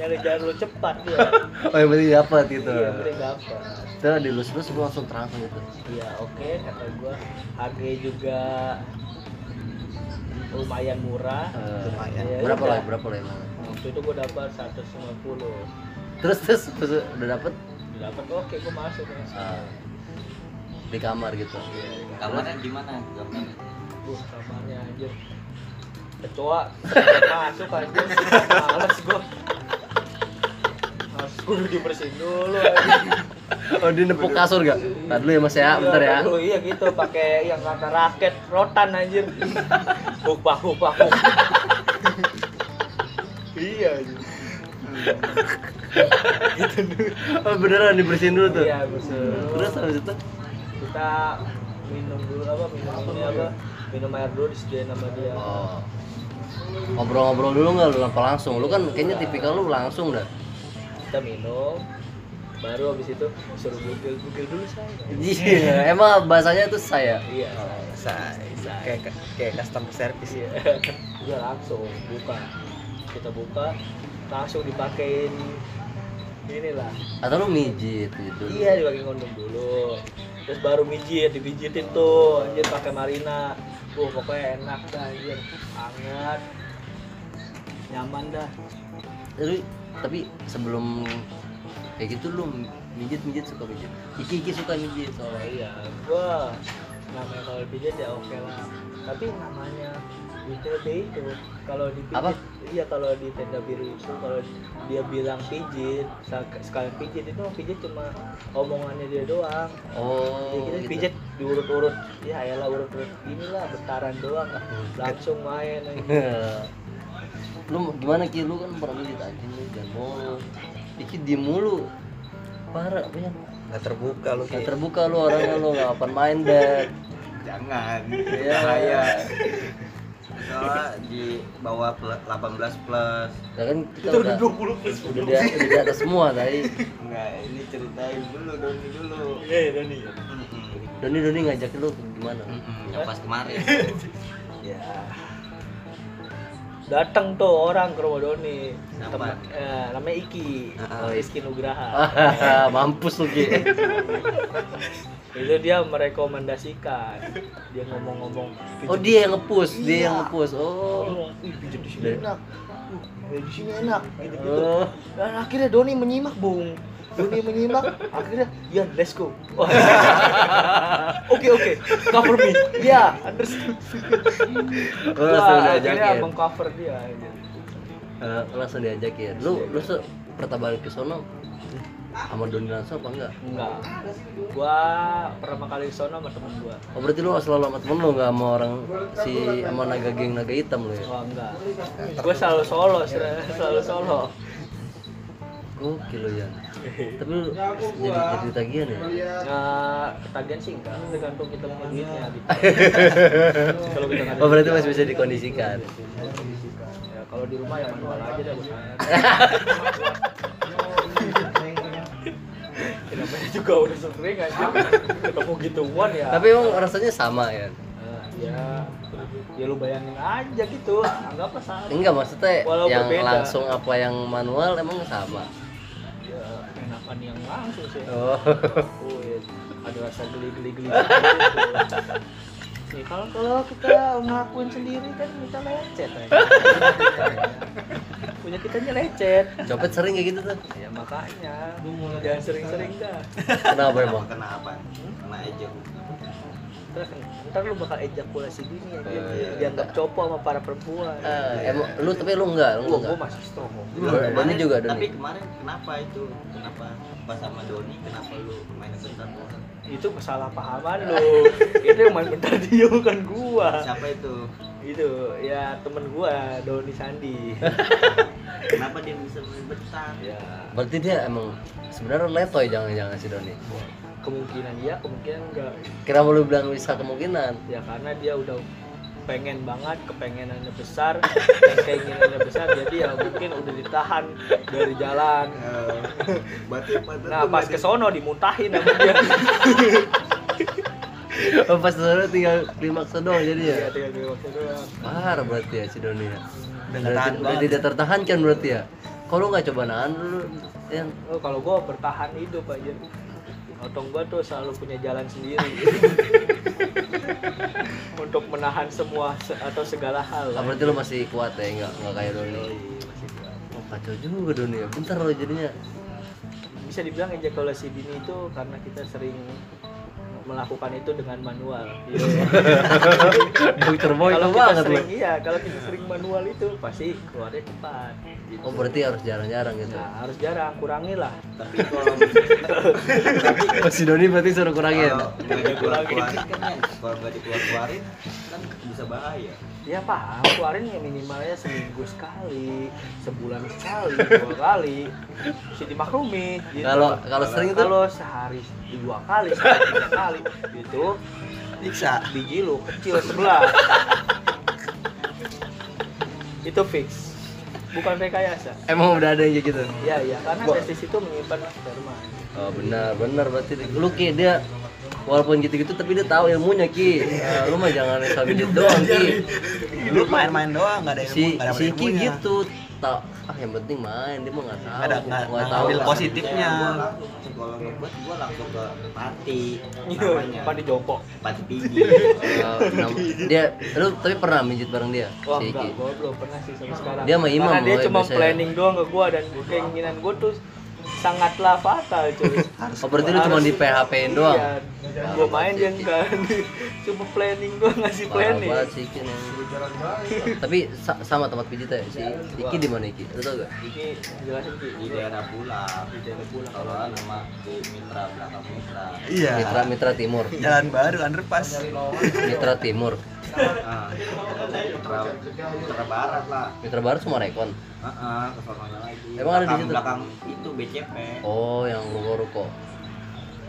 Speaker 2: Nyari jalur cepat dia.
Speaker 1: Oh, yang penting dapat gitu.
Speaker 2: Iya, udah dapat.
Speaker 1: Terus dilus-lus lu langsung terang gitu.
Speaker 2: Iya oke kata gua harganya juga lumayan murah.
Speaker 1: Eh,
Speaker 4: Lumayan.
Speaker 2: Ya,
Speaker 1: berapa
Speaker 2: udah.
Speaker 1: lah? Berapa lah emang?
Speaker 2: Waktu itu gua dapat 150.
Speaker 1: Terus terus, terus udah dapet
Speaker 2: Dapat oke gua masuk masuk.
Speaker 1: eh, di kamar gitu.
Speaker 9: Kamarnya gimana? Kamarnya.
Speaker 2: Wah, kamarnya anjir. Kecoa masuk anjir. Males gua. Harus kudu dibersihin dulu anjir.
Speaker 1: Oh, dia nepuk kasur gak? Ntar dulu ya Mas ya, bentar ya.
Speaker 2: Dulu, iya gitu pakai yang kata raket rotan anjir. Hupah hupah. Iya anjir.
Speaker 1: Oh, beneran dibersihin dulu tuh.
Speaker 2: Iya, bersihin dulu.
Speaker 1: Terus habis itu
Speaker 2: kita minum dulu apa minum ini apa minum air dulu disediain sama dia
Speaker 1: Oh. Ngobrol-ngobrol dulu nggak lu apa langsung? Lu kan kayaknya tipikal lu langsung dah.
Speaker 2: kita minum baru habis itu suruh bugil bugil dulu saya
Speaker 1: Iya, emang bahasanya tuh saya.
Speaker 2: iya
Speaker 1: Oh.
Speaker 4: Selesai. Kayak kayak customer service ya.
Speaker 2: iya udah langsung buka kita buka langsung dipakein inilah
Speaker 1: Atau lu mijit gitu.
Speaker 2: iya dipakai kondom dulu terus baru mijit dipijitin tuh anjir pakai marina Wah pokoknya enak dah anjir hangat nyaman dah
Speaker 1: Tapi, tapi sebelum kayak gitu lu mijit-mijit suka mijit. Iki-iki suka mijit
Speaker 2: Oh
Speaker 1: soalnya.
Speaker 2: iya, gua namanya kalau pijat ya oke lah. Tapi namanya di TT itu kalau dipijit,
Speaker 1: Apa?
Speaker 2: iya kalau di tenda biru itu kalau dia bilang pijit, sak- sekali pijit itu pijit cuma omongannya dia doang. Jadi
Speaker 1: Oh,
Speaker 2: Iya, kita
Speaker 1: gitu.
Speaker 2: pijit diurut-urut, ya ayolah urut-urut inilah bentaran doang lah. Langsung main eh. lagi.
Speaker 1: lu gimana ki lu kan pernah mijit anjing lu jangan bohong. Iki diem mulu. Parah, banyak.
Speaker 4: Nggak terbuka lu
Speaker 1: Gak
Speaker 4: kayak.
Speaker 1: terbuka lu orangnya lu gak open minded.
Speaker 9: Jangan.
Speaker 1: Iya.
Speaker 9: Bahaya. Soalnya di bawah pel- 18 plus.
Speaker 1: Ya kan kita udah udah di, udah di atas semua tadi.
Speaker 9: Enggak, ini ceritain dulu Doni dulu.
Speaker 2: Iya, Doni.
Speaker 9: Mm-mm.
Speaker 1: Doni Doni ngajak lu gimana?
Speaker 2: Hmm.
Speaker 9: Mm-mm, Yang pas kemarin. ya,
Speaker 2: Datang tuh orang ke rumah Doni.
Speaker 9: Siapa?
Speaker 2: Teman, eh, namanya Iki,
Speaker 1: Ah,
Speaker 2: Rizky Nugraha.
Speaker 1: Mampus lu Ki.
Speaker 2: itu dia merekomendasikan dia ngomong-ngomong
Speaker 1: Oh dia yang ngepush, dia
Speaker 2: Iya.
Speaker 1: yang ngepush. Oh.
Speaker 2: "Oh, ih, pijat di
Speaker 1: Dia-
Speaker 2: sini enak Uh, pijat di sini enak gitu gitu
Speaker 1: Oh.
Speaker 2: dan akhirnya Doni menyimak bung Doni menyimak akhirnya ya let's go Wah. oke oke cover me ya understood
Speaker 1: Oh, langsung
Speaker 2: Wah, akhirnya
Speaker 1: diajakin.
Speaker 2: mengcover dia aja
Speaker 1: Eh, langsung diajakin. Lu lu se- pertama balik ke sono sama Doni langsung apa enggak?
Speaker 2: enggak gua pertama kali sono sama temen gua
Speaker 1: Oh berarti lu selalu sama temen lu enggak sama orang si sama naga geng naga hitam lu ya?
Speaker 2: oh enggak gua selalu solo selalu solo
Speaker 1: Oke lu ya. Tapi lu jadi jadi tagihan ya?
Speaker 2: Nah, ketagihan sih enggak, tergantung kita mau duitnya gitu. kalau kita nggak ada
Speaker 1: Oh berarti masih bisa dikondisikan.
Speaker 2: duit, ya, kalau di rumah ya manual aja deh bos. Kenapa juga udah sering aja ketemu gituan ya.
Speaker 1: Tapi emang rasanya sama ya.
Speaker 2: Eh, ya ya lu bayangin aja gitu anggaplah sama
Speaker 1: Enggak maksudnya
Speaker 2: Walau
Speaker 1: yang
Speaker 2: berbeda.
Speaker 1: langsung apa yang manual emang sama.
Speaker 2: ya enakan yang langsung sih
Speaker 1: Oh.
Speaker 2: oh ya ada rasa geli geli geli gitu. Nih, kalau kalau kita ngakuin sendiri kan kita lecet aja. punya kitanya lecet
Speaker 1: Copet sering kayak gitu tuh.
Speaker 2: ya makanya jangan sering-sering dah
Speaker 1: Kenapa emang?
Speaker 6: Kenapa? Kena ejek.
Speaker 2: ntar, ntar lu bakal ejakulasi gini ya dia, dianggap copo sama para perempuan
Speaker 1: Eh, emang lu tapi lu enggak, lu enggak.
Speaker 2: gua, Iya. Oh, gua masih strong
Speaker 1: Lu Doni juga
Speaker 6: Tapi
Speaker 1: Doni.
Speaker 6: kemarin kenapa itu? Kenapa pas sama Doni kenapa lu main bentar doang?
Speaker 2: itu kesalahpahaman lu itu yang main bentar dia bukan gua
Speaker 6: Siapa itu?
Speaker 2: itu ya temen gua Doni Sandi
Speaker 6: Kenapa dia bisa main bentar?
Speaker 2: ya
Speaker 1: Berarti dia emang sebenarnya letoy jangan-jangan si Doni.
Speaker 2: kemungkinan iya kemungkinan enggak
Speaker 1: Kenapa lu bilang bisa kemungkinan?
Speaker 2: ya karena dia udah pengen banget kepengenannya besar dan keinginannya besar jadi ya mungkin udah ditahan dari jalan
Speaker 6: Eh, Berarti pada
Speaker 2: nah pas ke sono dimuntahin sama dia
Speaker 1: Oh, Pas sebenarnya tinggal klimaks doang jadi ya.
Speaker 2: Iya, tinggal di waktu doang.
Speaker 1: Parah berarti ya si Doni ya.
Speaker 10: Udah
Speaker 1: Berarti-
Speaker 10: tahan
Speaker 1: udah
Speaker 10: banget.
Speaker 1: tidak tertahankan berarti ya. Kalau nggak coba nahan lu yang
Speaker 2: Oh, kalau gue bertahan hidup aja. Otong gue tuh selalu punya jalan sendiri untuk menahan semua se- atau segala hal.
Speaker 1: ah, berarti lu masih kuat ya nggak nggak kayak Doni. Oh, kacau juga Doni ya. Bentar lo jadinya.
Speaker 2: Bisa dibilang ejakulasi dini itu karena kita sering melakukan itu dengan manual. Iya.
Speaker 1: Dokter Boy
Speaker 2: kalau
Speaker 1: itu
Speaker 2: kita
Speaker 1: banget lu.
Speaker 2: sering iya, kalau kita sering manual itu pasti keluarnya cepat. gitu.
Speaker 1: Oh berarti harus jarang-jarang gitu.
Speaker 2: Nah, harus jarang, kurangi lah.
Speaker 6: tapi kalau misalnya
Speaker 1: Oh, si Doni berarti suruh kurangin.
Speaker 6: kalau nggak dikeluar-keluarin kan ya, kalau nggak dikeluar-keluarin kan bisa bahaya.
Speaker 2: Ya paham, keluarin ya minimalnya seminggu sekali, sebulan sekali, dua kali. Bisa dimaklumi. gitu.
Speaker 1: Kalau kalau sering itu
Speaker 2: kalau sehari dua kali, sehari tiga kali, gitu. itu
Speaker 10: Bisa.
Speaker 2: biji lu kecil sebelah. itu fix, bukan rekayasa.
Speaker 1: emang udah ada yang kayak gitu.
Speaker 2: Ya ya, karena
Speaker 1: Gua-
Speaker 2: testis itu menyimpan sperma.
Speaker 1: Oh, benar benar berarti lu Ki dia walaupun gitu-gitu tapi dia tahu ilmunya Ki. Ya, lu mah jangan sambil gitu doang Ki.
Speaker 10: Lu main-main doang, nggak ada ilmu,
Speaker 1: Si
Speaker 10: nggak ada
Speaker 1: si Ki
Speaker 10: ilmunya.
Speaker 1: gitu tak ah yang penting main dia mah nggak tahu
Speaker 10: Nggak ada- nggak-
Speaker 1: nggak
Speaker 10: nggak
Speaker 1: tahu
Speaker 10: ambil
Speaker 1: lah. Iya,
Speaker 10: positif. Positifnya.
Speaker 6: Gua langsung- kalau ngebuat gua langsung ke pati
Speaker 2: Iya.
Speaker 6: namanya
Speaker 2: Pada jopok.
Speaker 6: Iya, pati tinggi
Speaker 1: Eh, nam- dia lu tapi pernah mijit bareng dia
Speaker 2: Wah
Speaker 1: si Ki.
Speaker 2: enggak, gue belum pernah sih sama sekarang.
Speaker 1: Dia sama Imam
Speaker 2: Karena dia
Speaker 1: loh,
Speaker 2: cuma
Speaker 1: biasanya.
Speaker 2: planning doang ke gue dan keinginan gue tuh sangatlah fatal cuy.
Speaker 1: Oh berarti lu cuma di PHP-in doang.
Speaker 2: Iya, gue main dia enggak. cuma planning doang ngasih
Speaker 1: Parah
Speaker 2: planning.
Speaker 1: banget si Ki. nih. Tapi sa- sama tempat pijit ya si si Ki di mana Ki? Lu tau gak?
Speaker 2: Ini jelasin Ki.
Speaker 6: di daerah pulang di daerah pulang kalau nama di mitra belakang mitra
Speaker 10: Iya.
Speaker 1: Mitra Mitra Timur.
Speaker 10: Jalan baru underpass.
Speaker 1: Mitra Timur.
Speaker 6: Ah, mitra mitra barat lah
Speaker 1: Mitra Barat semua rekon.
Speaker 6: Heeh, ke sononya lagi
Speaker 1: Emang ada di
Speaker 6: Belakang-
Speaker 1: situ?
Speaker 6: belakang itu BCP
Speaker 1: Oh, yang luar ruko.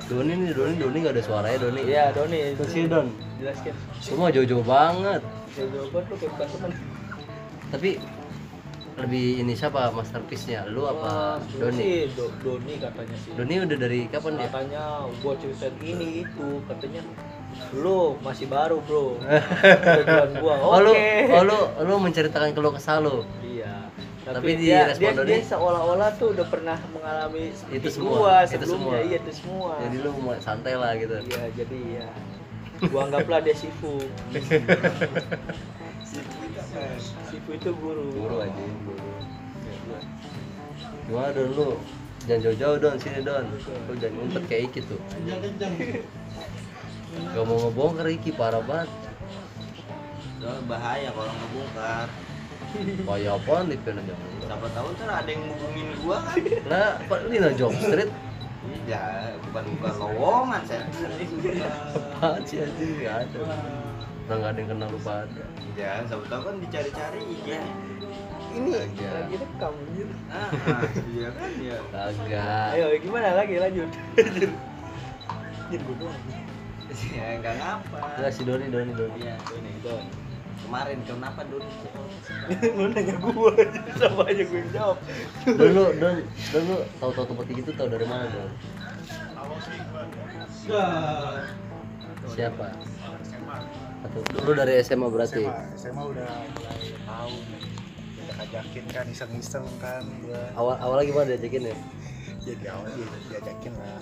Speaker 1: Doni nih, Doni, Doni gak ada suaranya Doni.
Speaker 2: Iya, Doni. itu.
Speaker 1: Don.
Speaker 2: Jelaskan.
Speaker 1: Semua jauh-jauh banget.
Speaker 2: Jawaban lu kayak bukan temen.
Speaker 1: Tapi lebih ini siapa masterpiece-nya? Lu
Speaker 2: Wah,
Speaker 1: apa
Speaker 2: lu
Speaker 1: Doni?
Speaker 2: sih, Do- Doni katanya sih.
Speaker 1: Doni udah dari kapan dia?
Speaker 2: katanya gua ceritain ini itu katanya lu masih baru bro Tujuan gua
Speaker 1: Oh,
Speaker 2: oke
Speaker 1: lu, oh, lu, lu menceritakan keluh kesah lu.
Speaker 2: iya
Speaker 1: Tapi
Speaker 2: tapi,
Speaker 1: di
Speaker 2: dia,
Speaker 1: respon
Speaker 2: dia,
Speaker 1: Doni-
Speaker 2: dia seolah-olah tuh udah pernah mengalami seperti
Speaker 1: Itu semua,
Speaker 2: gua
Speaker 1: itu
Speaker 2: sebelumnya
Speaker 1: semua.
Speaker 2: iya itu semua
Speaker 1: Jadi lu mau santai lah gitu.
Speaker 2: iya jadi iya gua anggaplah dia sifu sifu itu guru
Speaker 1: Buru aja, buru. Gimana Don lu? Jangan jauh-jauh Don, sini Don. Lu jangan ngumpet kayak Iki tuh.
Speaker 2: Iya,
Speaker 1: Gak mau ngebongkar Iki, parah banget.
Speaker 6: Soalnya bahaya kalau ngebongkar
Speaker 1: Kayak apaan nih Pion aja?
Speaker 6: siapa tahu ntar ada yang ngubungin gua kan
Speaker 1: Nah, Pak Lina Job Street
Speaker 6: ya bukan bukan lowongan saya
Speaker 1: apaan sih aja nggak ada. Nah nggak ada yang kenal lupa ada.
Speaker 6: ya siapa tahu kan dicari-cari iya
Speaker 2: ini
Speaker 1: Lagi.
Speaker 2: lagi rekam anjir.
Speaker 6: ah iya kan ya
Speaker 1: Kagak.
Speaker 2: ayo gimana lagi lanjut lanjut Anjir, gua doang.
Speaker 6: ya nggak ngapa
Speaker 1: Nggak si Doni Doni Doni.
Speaker 6: iya ini
Speaker 2: Don.
Speaker 6: kemarin kenapa dulu
Speaker 2: lu nanya gue sama aja gue yang jawab
Speaker 1: Don lu Don Don lu tahu-tahu tempat kayak gitu tahu dari mana Don? Siapa? Satu. Dulu dari SMA berarti.
Speaker 5: SMA, SMA udah mulai tahu ajakin kan iseng-iseng kan gua
Speaker 1: Awal awalnya gimana diajakin ya?
Speaker 5: jadi awal dia- diajakin lah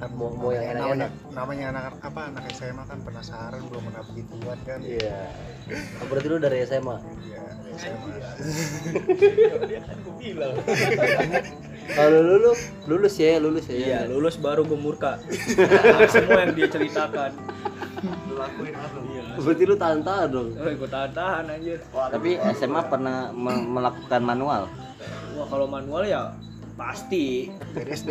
Speaker 5: Kan
Speaker 1: Mau mau yang
Speaker 5: namanya,
Speaker 1: enak-enak.
Speaker 5: namanya anak apa anak SMA kan penasaran belum pernah begituan kan
Speaker 1: Iya. Oh, berarti lu dari SMA.
Speaker 5: Iya, dari SMA
Speaker 2: Kan
Speaker 1: Kalau lu lu lulus ya, lulus ya.
Speaker 2: Iya, lulus baru gue murka. Atas semua yang dia ceritakan.
Speaker 1: Berarti lu tantang dong.
Speaker 2: Oh, gue tahan-tahan anjir.
Speaker 6: Tapi SMA pernah me- melakukan manual.
Speaker 2: Wah, kalau manual ya pasti
Speaker 5: dari SD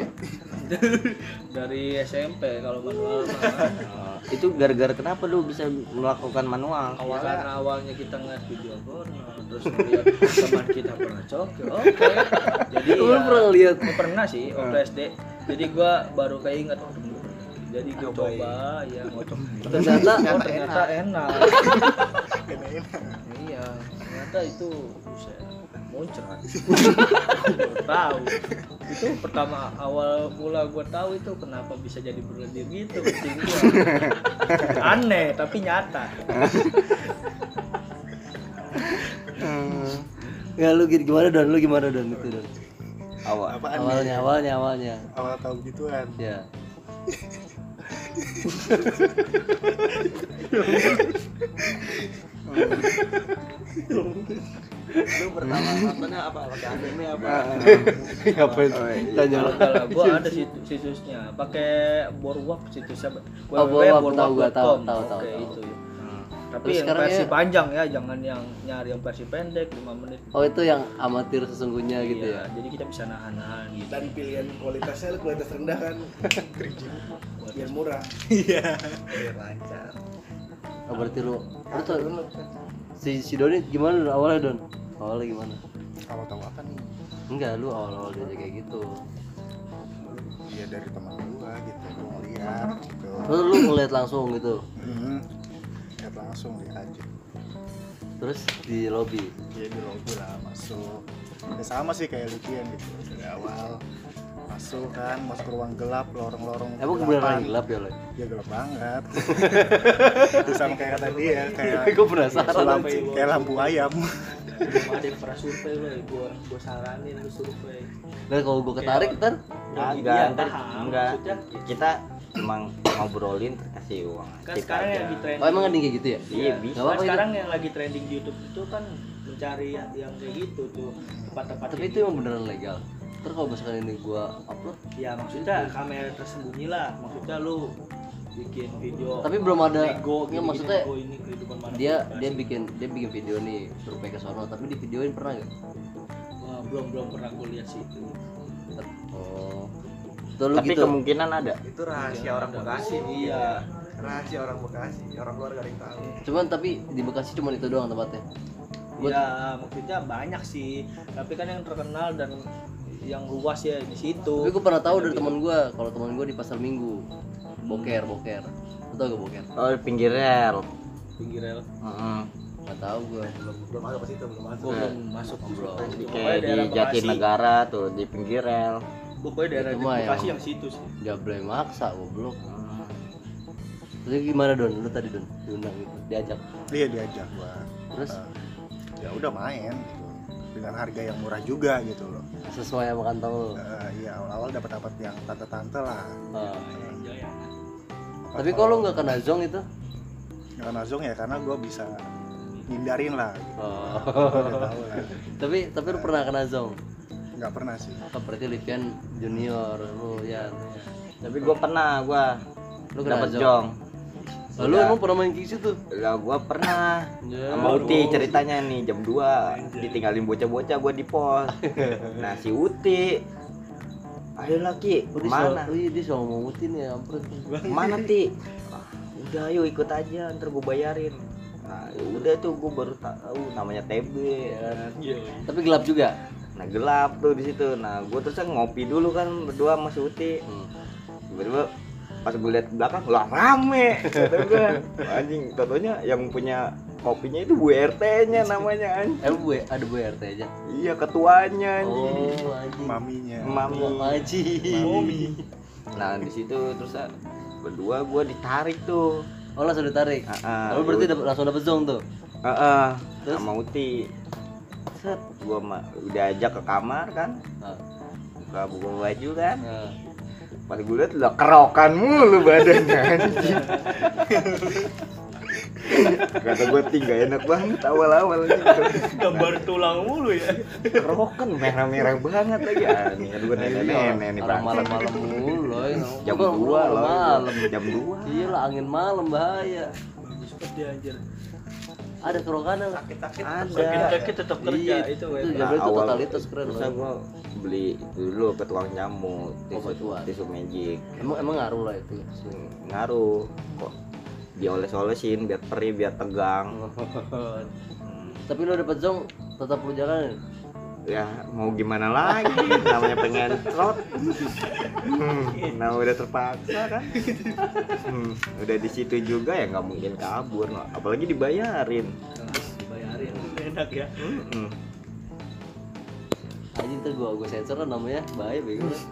Speaker 2: dari SMP kalau manual mah.
Speaker 6: Eh, Itu gara-gara kenapa lu bisa melakukan manual?
Speaker 2: awal karena awalnya kita ngeliat video porno terus ngeliat teman kita pernah cokil oke jadi ya,
Speaker 1: Lu pernah ngeliat?
Speaker 2: Gua pernah sih waktu SD jadi gua baru keinget oh, dulu pernah. jadi gua coba ya mau coba
Speaker 1: Ternyata
Speaker 2: oh, ternyata enak iya ternyata itu buset muncrat Gua tahu itu pertama awal mula gua tahu itu kenapa bisa jadi berlendir gitu kucing gua aneh tapi nyata
Speaker 1: ya lu gini- gimana Don? Lu gimana Don itu Don?
Speaker 6: Awal.
Speaker 1: Awalnya, awalnya, awalnya.
Speaker 5: awal tahu begituan
Speaker 1: Ya.
Speaker 9: Lu pertama nontonnya apa? Pakai anime apa?
Speaker 1: Ngapain? Oh, iya. Tanya lu.
Speaker 2: Enggak lah, gua ada situs situsnya. Pakai Borwap situsnya.
Speaker 1: Oh, Borwap, tahu gua, tahu,
Speaker 2: www.borwap.com.
Speaker 1: tahu, tahu,
Speaker 2: Oke,
Speaker 1: tahu.
Speaker 2: itu. Tapi
Speaker 1: Terus
Speaker 2: yang
Speaker 1: sekarang
Speaker 2: versi
Speaker 1: ya-
Speaker 2: panjang ya, jangan yang nyari yang versi pendek 5 menit.
Speaker 1: Oh itu yang amatir sesungguhnya gitu
Speaker 2: Iya,
Speaker 1: ya.
Speaker 2: Jadi kita bisa nahan-nahan gitu.
Speaker 9: Dan pilihan kualitasnya kualitas rendah kan. Biar murah.
Speaker 1: Oh, berarti lu, lu tuh lu- si si Doni gimana Don? awalnya Don? Awalnya gimana?
Speaker 5: awal tahu apa nih
Speaker 1: Enggak, lu awal-awal diajak kayak gitu.
Speaker 5: iya dari teman gua gitu gua ngeliat gitu
Speaker 1: Terus lu ngeliat langsung gitu.
Speaker 5: hmm. lihat langsung lihat aja
Speaker 1: Terus di lobby.
Speaker 5: dia di logo lah masuk ya sama sih kayak Lucian gitu dari awal masuk kan masuk ke ruang gelap lorong-lorong
Speaker 1: Emang
Speaker 5: kegelapan.
Speaker 1: beneran gelap ya lo?
Speaker 5: ya gelap banget itu sama kayak kata dia kayak
Speaker 1: Gue Iya, penasaran.
Speaker 5: lampu, kayak lampu ayam
Speaker 2: Belum ada yang pernah survei lo, ya. gua gua saranin lu survei.
Speaker 1: Nah kalau gue ketarik ntar
Speaker 2: Ya,
Speaker 6: Enggak,
Speaker 2: iya,
Speaker 6: Nah, ntar-
Speaker 2: paham.
Speaker 6: enggak.
Speaker 2: Maksudnya,
Speaker 6: Kita emang ngobrolin kasih uang.
Speaker 2: Kan
Speaker 6: Kita
Speaker 2: sekarang
Speaker 6: aja.
Speaker 2: yang di trending.
Speaker 1: Oh emang ada yang kayak gitu ya?
Speaker 6: Iya,
Speaker 2: Kan
Speaker 6: bisa.
Speaker 1: Gak apa-apa
Speaker 2: sekarang yang lagi trending di YouTube itu kan mencari yang yang kayak gitu tuh tempat-tempat
Speaker 1: Tapi
Speaker 2: kayak
Speaker 1: itu emang beneran legal. Terus kalau misalkan ini gue upload,
Speaker 2: ya maksudnya kamera tersembunyi lah maksudnya lu bikin video
Speaker 1: Tapi belum ada-
Speaker 2: nego
Speaker 1: ya,
Speaker 2: gini-gini,
Speaker 1: maksudnya
Speaker 2: nego ini kehidupan manusia.
Speaker 1: dia dia bikin dia bikin video nih survei ke sono tapi di videoin pernah gak?
Speaker 2: Wah, belum belum pernah gue lihat sih itu
Speaker 1: Oh. Tuh lu
Speaker 6: Tapi
Speaker 1: gitu.
Speaker 6: kemungkinan ada.
Speaker 9: Itu rahasia Nah, orang Bekasi.
Speaker 2: iya
Speaker 9: Rahasia orang Bekasi. Orang luar gak ada yang tahu.
Speaker 1: Cuman tapi di Bekasi cuma itu doang tempatnya. Gua-
Speaker 2: ya maksudnya banyak sih tapi kan yang terkenal dan yang luas ya
Speaker 1: Tapi
Speaker 2: di situ
Speaker 1: gue pernah tahu dari teman gue kalau teman gue di pasar Minggu. Boker, boker. Lu tau gak boker?
Speaker 6: Oh, di pinggir rel.
Speaker 2: pinggir rel
Speaker 6: Heeh.
Speaker 1: Gak tau gue.
Speaker 9: Belum ada pas itu, belum ada.
Speaker 2: gue belum masuk
Speaker 1: Belum.
Speaker 6: Jadi
Speaker 2: pokoknya
Speaker 6: kayak di
Speaker 2: daerah Bekasi
Speaker 6: Jatinegara tuh di pinggir rel.
Speaker 2: pokoknya daerah
Speaker 1: Itu mah ya.
Speaker 2: Bekasi
Speaker 1: yang-
Speaker 2: yang situ sih
Speaker 1: Gak boleh maksa goblok.
Speaker 6: Hmm.
Speaker 1: Terus gimana Don? Lu tadi Don diundang gitu, diajak.
Speaker 5: dia Iya, diajak gua
Speaker 1: Terus
Speaker 5: Eh, ya udah main gitu dengan harga yang murah juga gitu loh
Speaker 1: sesuai sama kantong lu.
Speaker 5: Eh, iya awal-awal dapat dapat yang tante-tante lah
Speaker 1: Ah.
Speaker 2: Iya, iya.
Speaker 1: Tapi kalau lu nggak kena zong itu?
Speaker 5: nggak nazong ya karena gua bisa hindarin lah
Speaker 1: Oh.
Speaker 5: Gua udah tahu lah
Speaker 1: tapi tapi lu pernah kena zong?
Speaker 5: nggak pernah sih
Speaker 1: Apa berarti Livian junior lu ya.
Speaker 6: Tapi gua pernah gua
Speaker 1: Lu kena
Speaker 6: dapat
Speaker 1: zong.
Speaker 6: jong.
Speaker 1: Oh, lu emang pernah main kick situ?
Speaker 6: Lah gua pernah
Speaker 1: Ya.
Speaker 6: Iya. sama Uti ceritanya nih jam 2 ditinggalin bocah-bocah gua di pos. Nah si Uti Ayo lagi,
Speaker 1: Oh, dia
Speaker 6: mana?
Speaker 1: selalu- Iya, dia selalu ngomutin ya, ampun.
Speaker 6: Mana ti? Ah, Udah ayo ikut aja, ntar gua bayarin. Nah, ya udah tuh gua baru tahu namanya TB. ya kan.
Speaker 1: Tapi gelap juga.
Speaker 6: Nah gelap tuh di situ. Nah gua terus ngopi dulu kan berdua sama si Uti. tiba-tiba pas gue lihat ke belakang lah rame kata gue anjing tentunya yang punya kopinya itu Bu RT nya namanya anjing
Speaker 1: Eh, bu, ada bu RT aja.
Speaker 6: iya ketuanya anjing
Speaker 1: Oh, anjing.
Speaker 5: maminya
Speaker 6: mami
Speaker 1: Oh, anjing.
Speaker 6: nah di situ terus ah, berdua gue ditarik tuh
Speaker 1: oh langsung ditarik
Speaker 6: Ah, ah.
Speaker 1: lalu Oh, berarti dap- langsung dapet zong tuh
Speaker 6: Heeh,
Speaker 1: Terus?
Speaker 6: sama Uti. Set, gua ma- udah ajak ke kamar kan.
Speaker 1: Ah.
Speaker 6: Buka buka baju kan.
Speaker 1: nah,
Speaker 6: Pas gue liat lah kerokan mulu badannya anjing. Kata gue tinggal enak banget awal-awal anjing.
Speaker 2: Gambar tulang mulu ya.
Speaker 6: Kerokan merah-merah banget lagi. Ah, nih kan gue nenek-nenek nih
Speaker 1: Iya, orang
Speaker 6: Bang.
Speaker 1: malam-malam mulu loh
Speaker 6: Jam 2 loh.
Speaker 1: malam
Speaker 6: Jam 2.
Speaker 1: iya lah angin malam bahaya
Speaker 2: Bagus banget dia anjir.
Speaker 1: ada kerokanan
Speaker 6: Ada. Nah,
Speaker 2: Sakit-sakit tetap
Speaker 1: Iya,
Speaker 2: kerja itu weh.
Speaker 1: itu Jabar itu totalitas keren Oh,
Speaker 6: terus
Speaker 1: loh.
Speaker 6: gue beli itu dulu ke tukang jamu
Speaker 1: ke
Speaker 6: tisu,
Speaker 1: tukang.
Speaker 6: tisu magic
Speaker 1: emang emang ngaruh lah itu
Speaker 6: ngaruh kok dioles-olesin biar perih biar tegang
Speaker 1: tapi lo dapet zong tetap lu jalanin
Speaker 6: ya mau gimana lagi namanya pengen trot hmm, nah udah terpaksa kan Hmm, udah di situ juga ya nggak mungkin kabur no. apalagi dibayarin Hmm,
Speaker 2: Bayarin enak ya.
Speaker 6: Mm-mm.
Speaker 1: aja ntar gua gua sensor lah namanya bahaya bego lah.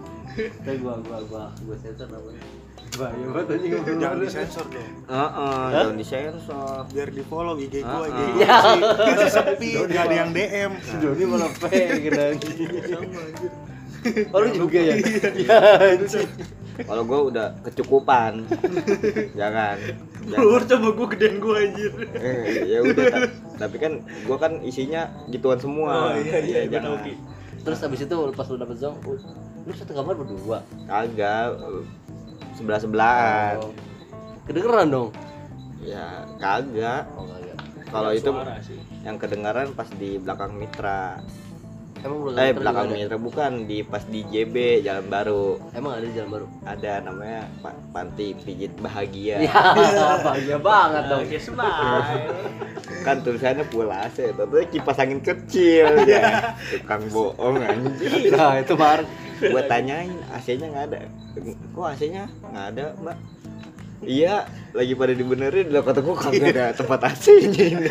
Speaker 1: ntar gua gua gua gua sensor namanya bahaya banget anjing ngobrol
Speaker 5: jangan
Speaker 1: lu.
Speaker 5: disensor dong
Speaker 6: Heeh, jangan Uh-uh, disensor
Speaker 5: biar di follow IG gua
Speaker 6: Ah,
Speaker 5: IG
Speaker 6: ah.
Speaker 5: gua masih, masih sepi nggak ada yang DM
Speaker 1: Doni malah pengen anjing oh lu juga ya ya anjing
Speaker 6: kalau gue udah kecukupan jangan jangan
Speaker 2: Keluar coba gue gedean gue anjir.
Speaker 6: Eh, ya udah ta- tapi kan gua kan isinya gituan
Speaker 2: Oh
Speaker 6: semua
Speaker 2: iya iya gue
Speaker 6: Iya,
Speaker 2: tahu
Speaker 6: jangan.
Speaker 2: Ki.
Speaker 1: terus abis itu pas lu dapet zong oh, lu satu kamar berdua
Speaker 6: kagak uh, sebelah sebelahan
Speaker 1: Oh. kedengeran dong
Speaker 6: ya kagak
Speaker 1: oh kagak
Speaker 6: kalau itu
Speaker 2: Suara sih.
Speaker 6: yang kedengaran pas di belakang mitra
Speaker 1: emang belakang
Speaker 6: eh
Speaker 1: mitra
Speaker 6: belakang
Speaker 1: juga ada?
Speaker 6: mitra bukan di pas di JB Jalan Baru
Speaker 1: emang ada di jalan baru
Speaker 6: ada namanya Pa- panti pijit bahagia
Speaker 1: ya bahagia banget Nah, dong
Speaker 2: Oke, smile.
Speaker 6: kan tulisannya pulas ya tapi kipas angin kecil ya tukang bohong anjing
Speaker 1: nah itu bar
Speaker 6: gue tanyain AC-nya nggak ada kok AC-nya nggak ada mbak iya lagi pada dibenerin lah kata gue kagak ada
Speaker 1: Iya.
Speaker 6: tempat AC-nya ini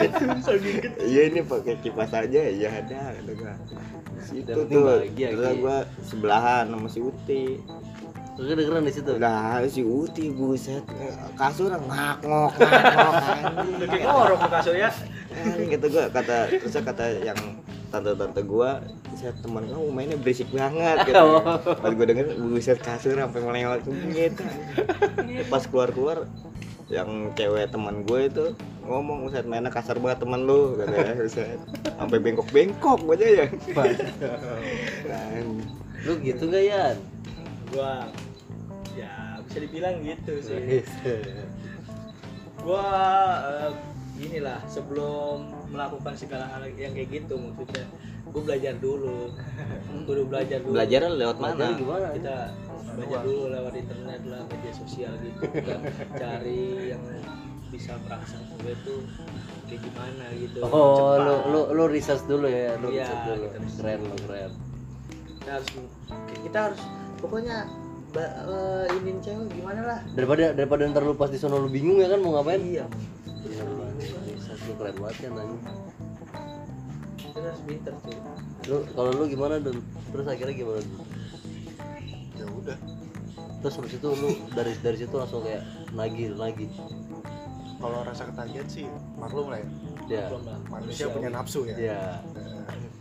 Speaker 6: iya ini pakai kipas aja ya ada kata gue itu
Speaker 1: Yang penting
Speaker 6: tuh
Speaker 1: bahagia, iya.
Speaker 6: terus
Speaker 1: Ki.
Speaker 6: gue sebelahan sama si Uti
Speaker 1: kedengeran di situ
Speaker 6: lah si Uti buset eh, kasur ngak ngok ngak ngok
Speaker 2: Udah kayak ngorok ke kasur ya.
Speaker 6: anjing kata gue Eh, gitu kata terus kata yang tante-tante gua saya teman kamu mainnya berisik banget gitu. pas gue denger buset kasur sampai melewat gitu pas keluar keluar yang cewek teman gue itu ngomong buset mainnya kasar banget teman lu katanya buset sampai bengkok bengkok gue aja ya Kan.
Speaker 1: lu gitu nggak Yan?
Speaker 2: Gua ya bisa dibilang gitu
Speaker 1: Iya.
Speaker 2: sih. Gua eh, inilah sebelum melakukan segala hal yang kayak gitu maksudnya gue belajar dulu kudu belajar dulu
Speaker 6: belajar lewat
Speaker 1: Materi
Speaker 6: mana
Speaker 1: gimana
Speaker 2: kita belajar dulu lewat internet lah media sosial gitu Kita cari yang bisa merangsang gue tuh kayak gimana gitu
Speaker 1: Oh,
Speaker 2: Cepat.
Speaker 1: lu, lu, lu research dulu ya, lu
Speaker 2: Iya,
Speaker 1: research dulu.
Speaker 2: kita research
Speaker 1: Keren,
Speaker 2: dulu.
Speaker 1: lu keren.
Speaker 2: kita harus kita harus pokoknya ba- eh, iniin cewek gimana lah
Speaker 1: Daripada daripada ntar lu pas di sono lu bingung ya kan mau ngapain?
Speaker 2: iya
Speaker 1: Iya, lu research lu keren banget ya nanya.
Speaker 2: kita harus pinter tuh
Speaker 1: Lu kalau lu gimana Dun? Terus akhirnya gimana? Dun?
Speaker 5: ya udah
Speaker 1: Terus habis itu lu dari dari situ langsung kayak nagih, nagih.
Speaker 5: kalau rasa ketagihan sih maklum lah ya
Speaker 1: Ya.
Speaker 2: belum lah
Speaker 5: manusia punya nafsu ya
Speaker 1: Ya.
Speaker 5: Eh,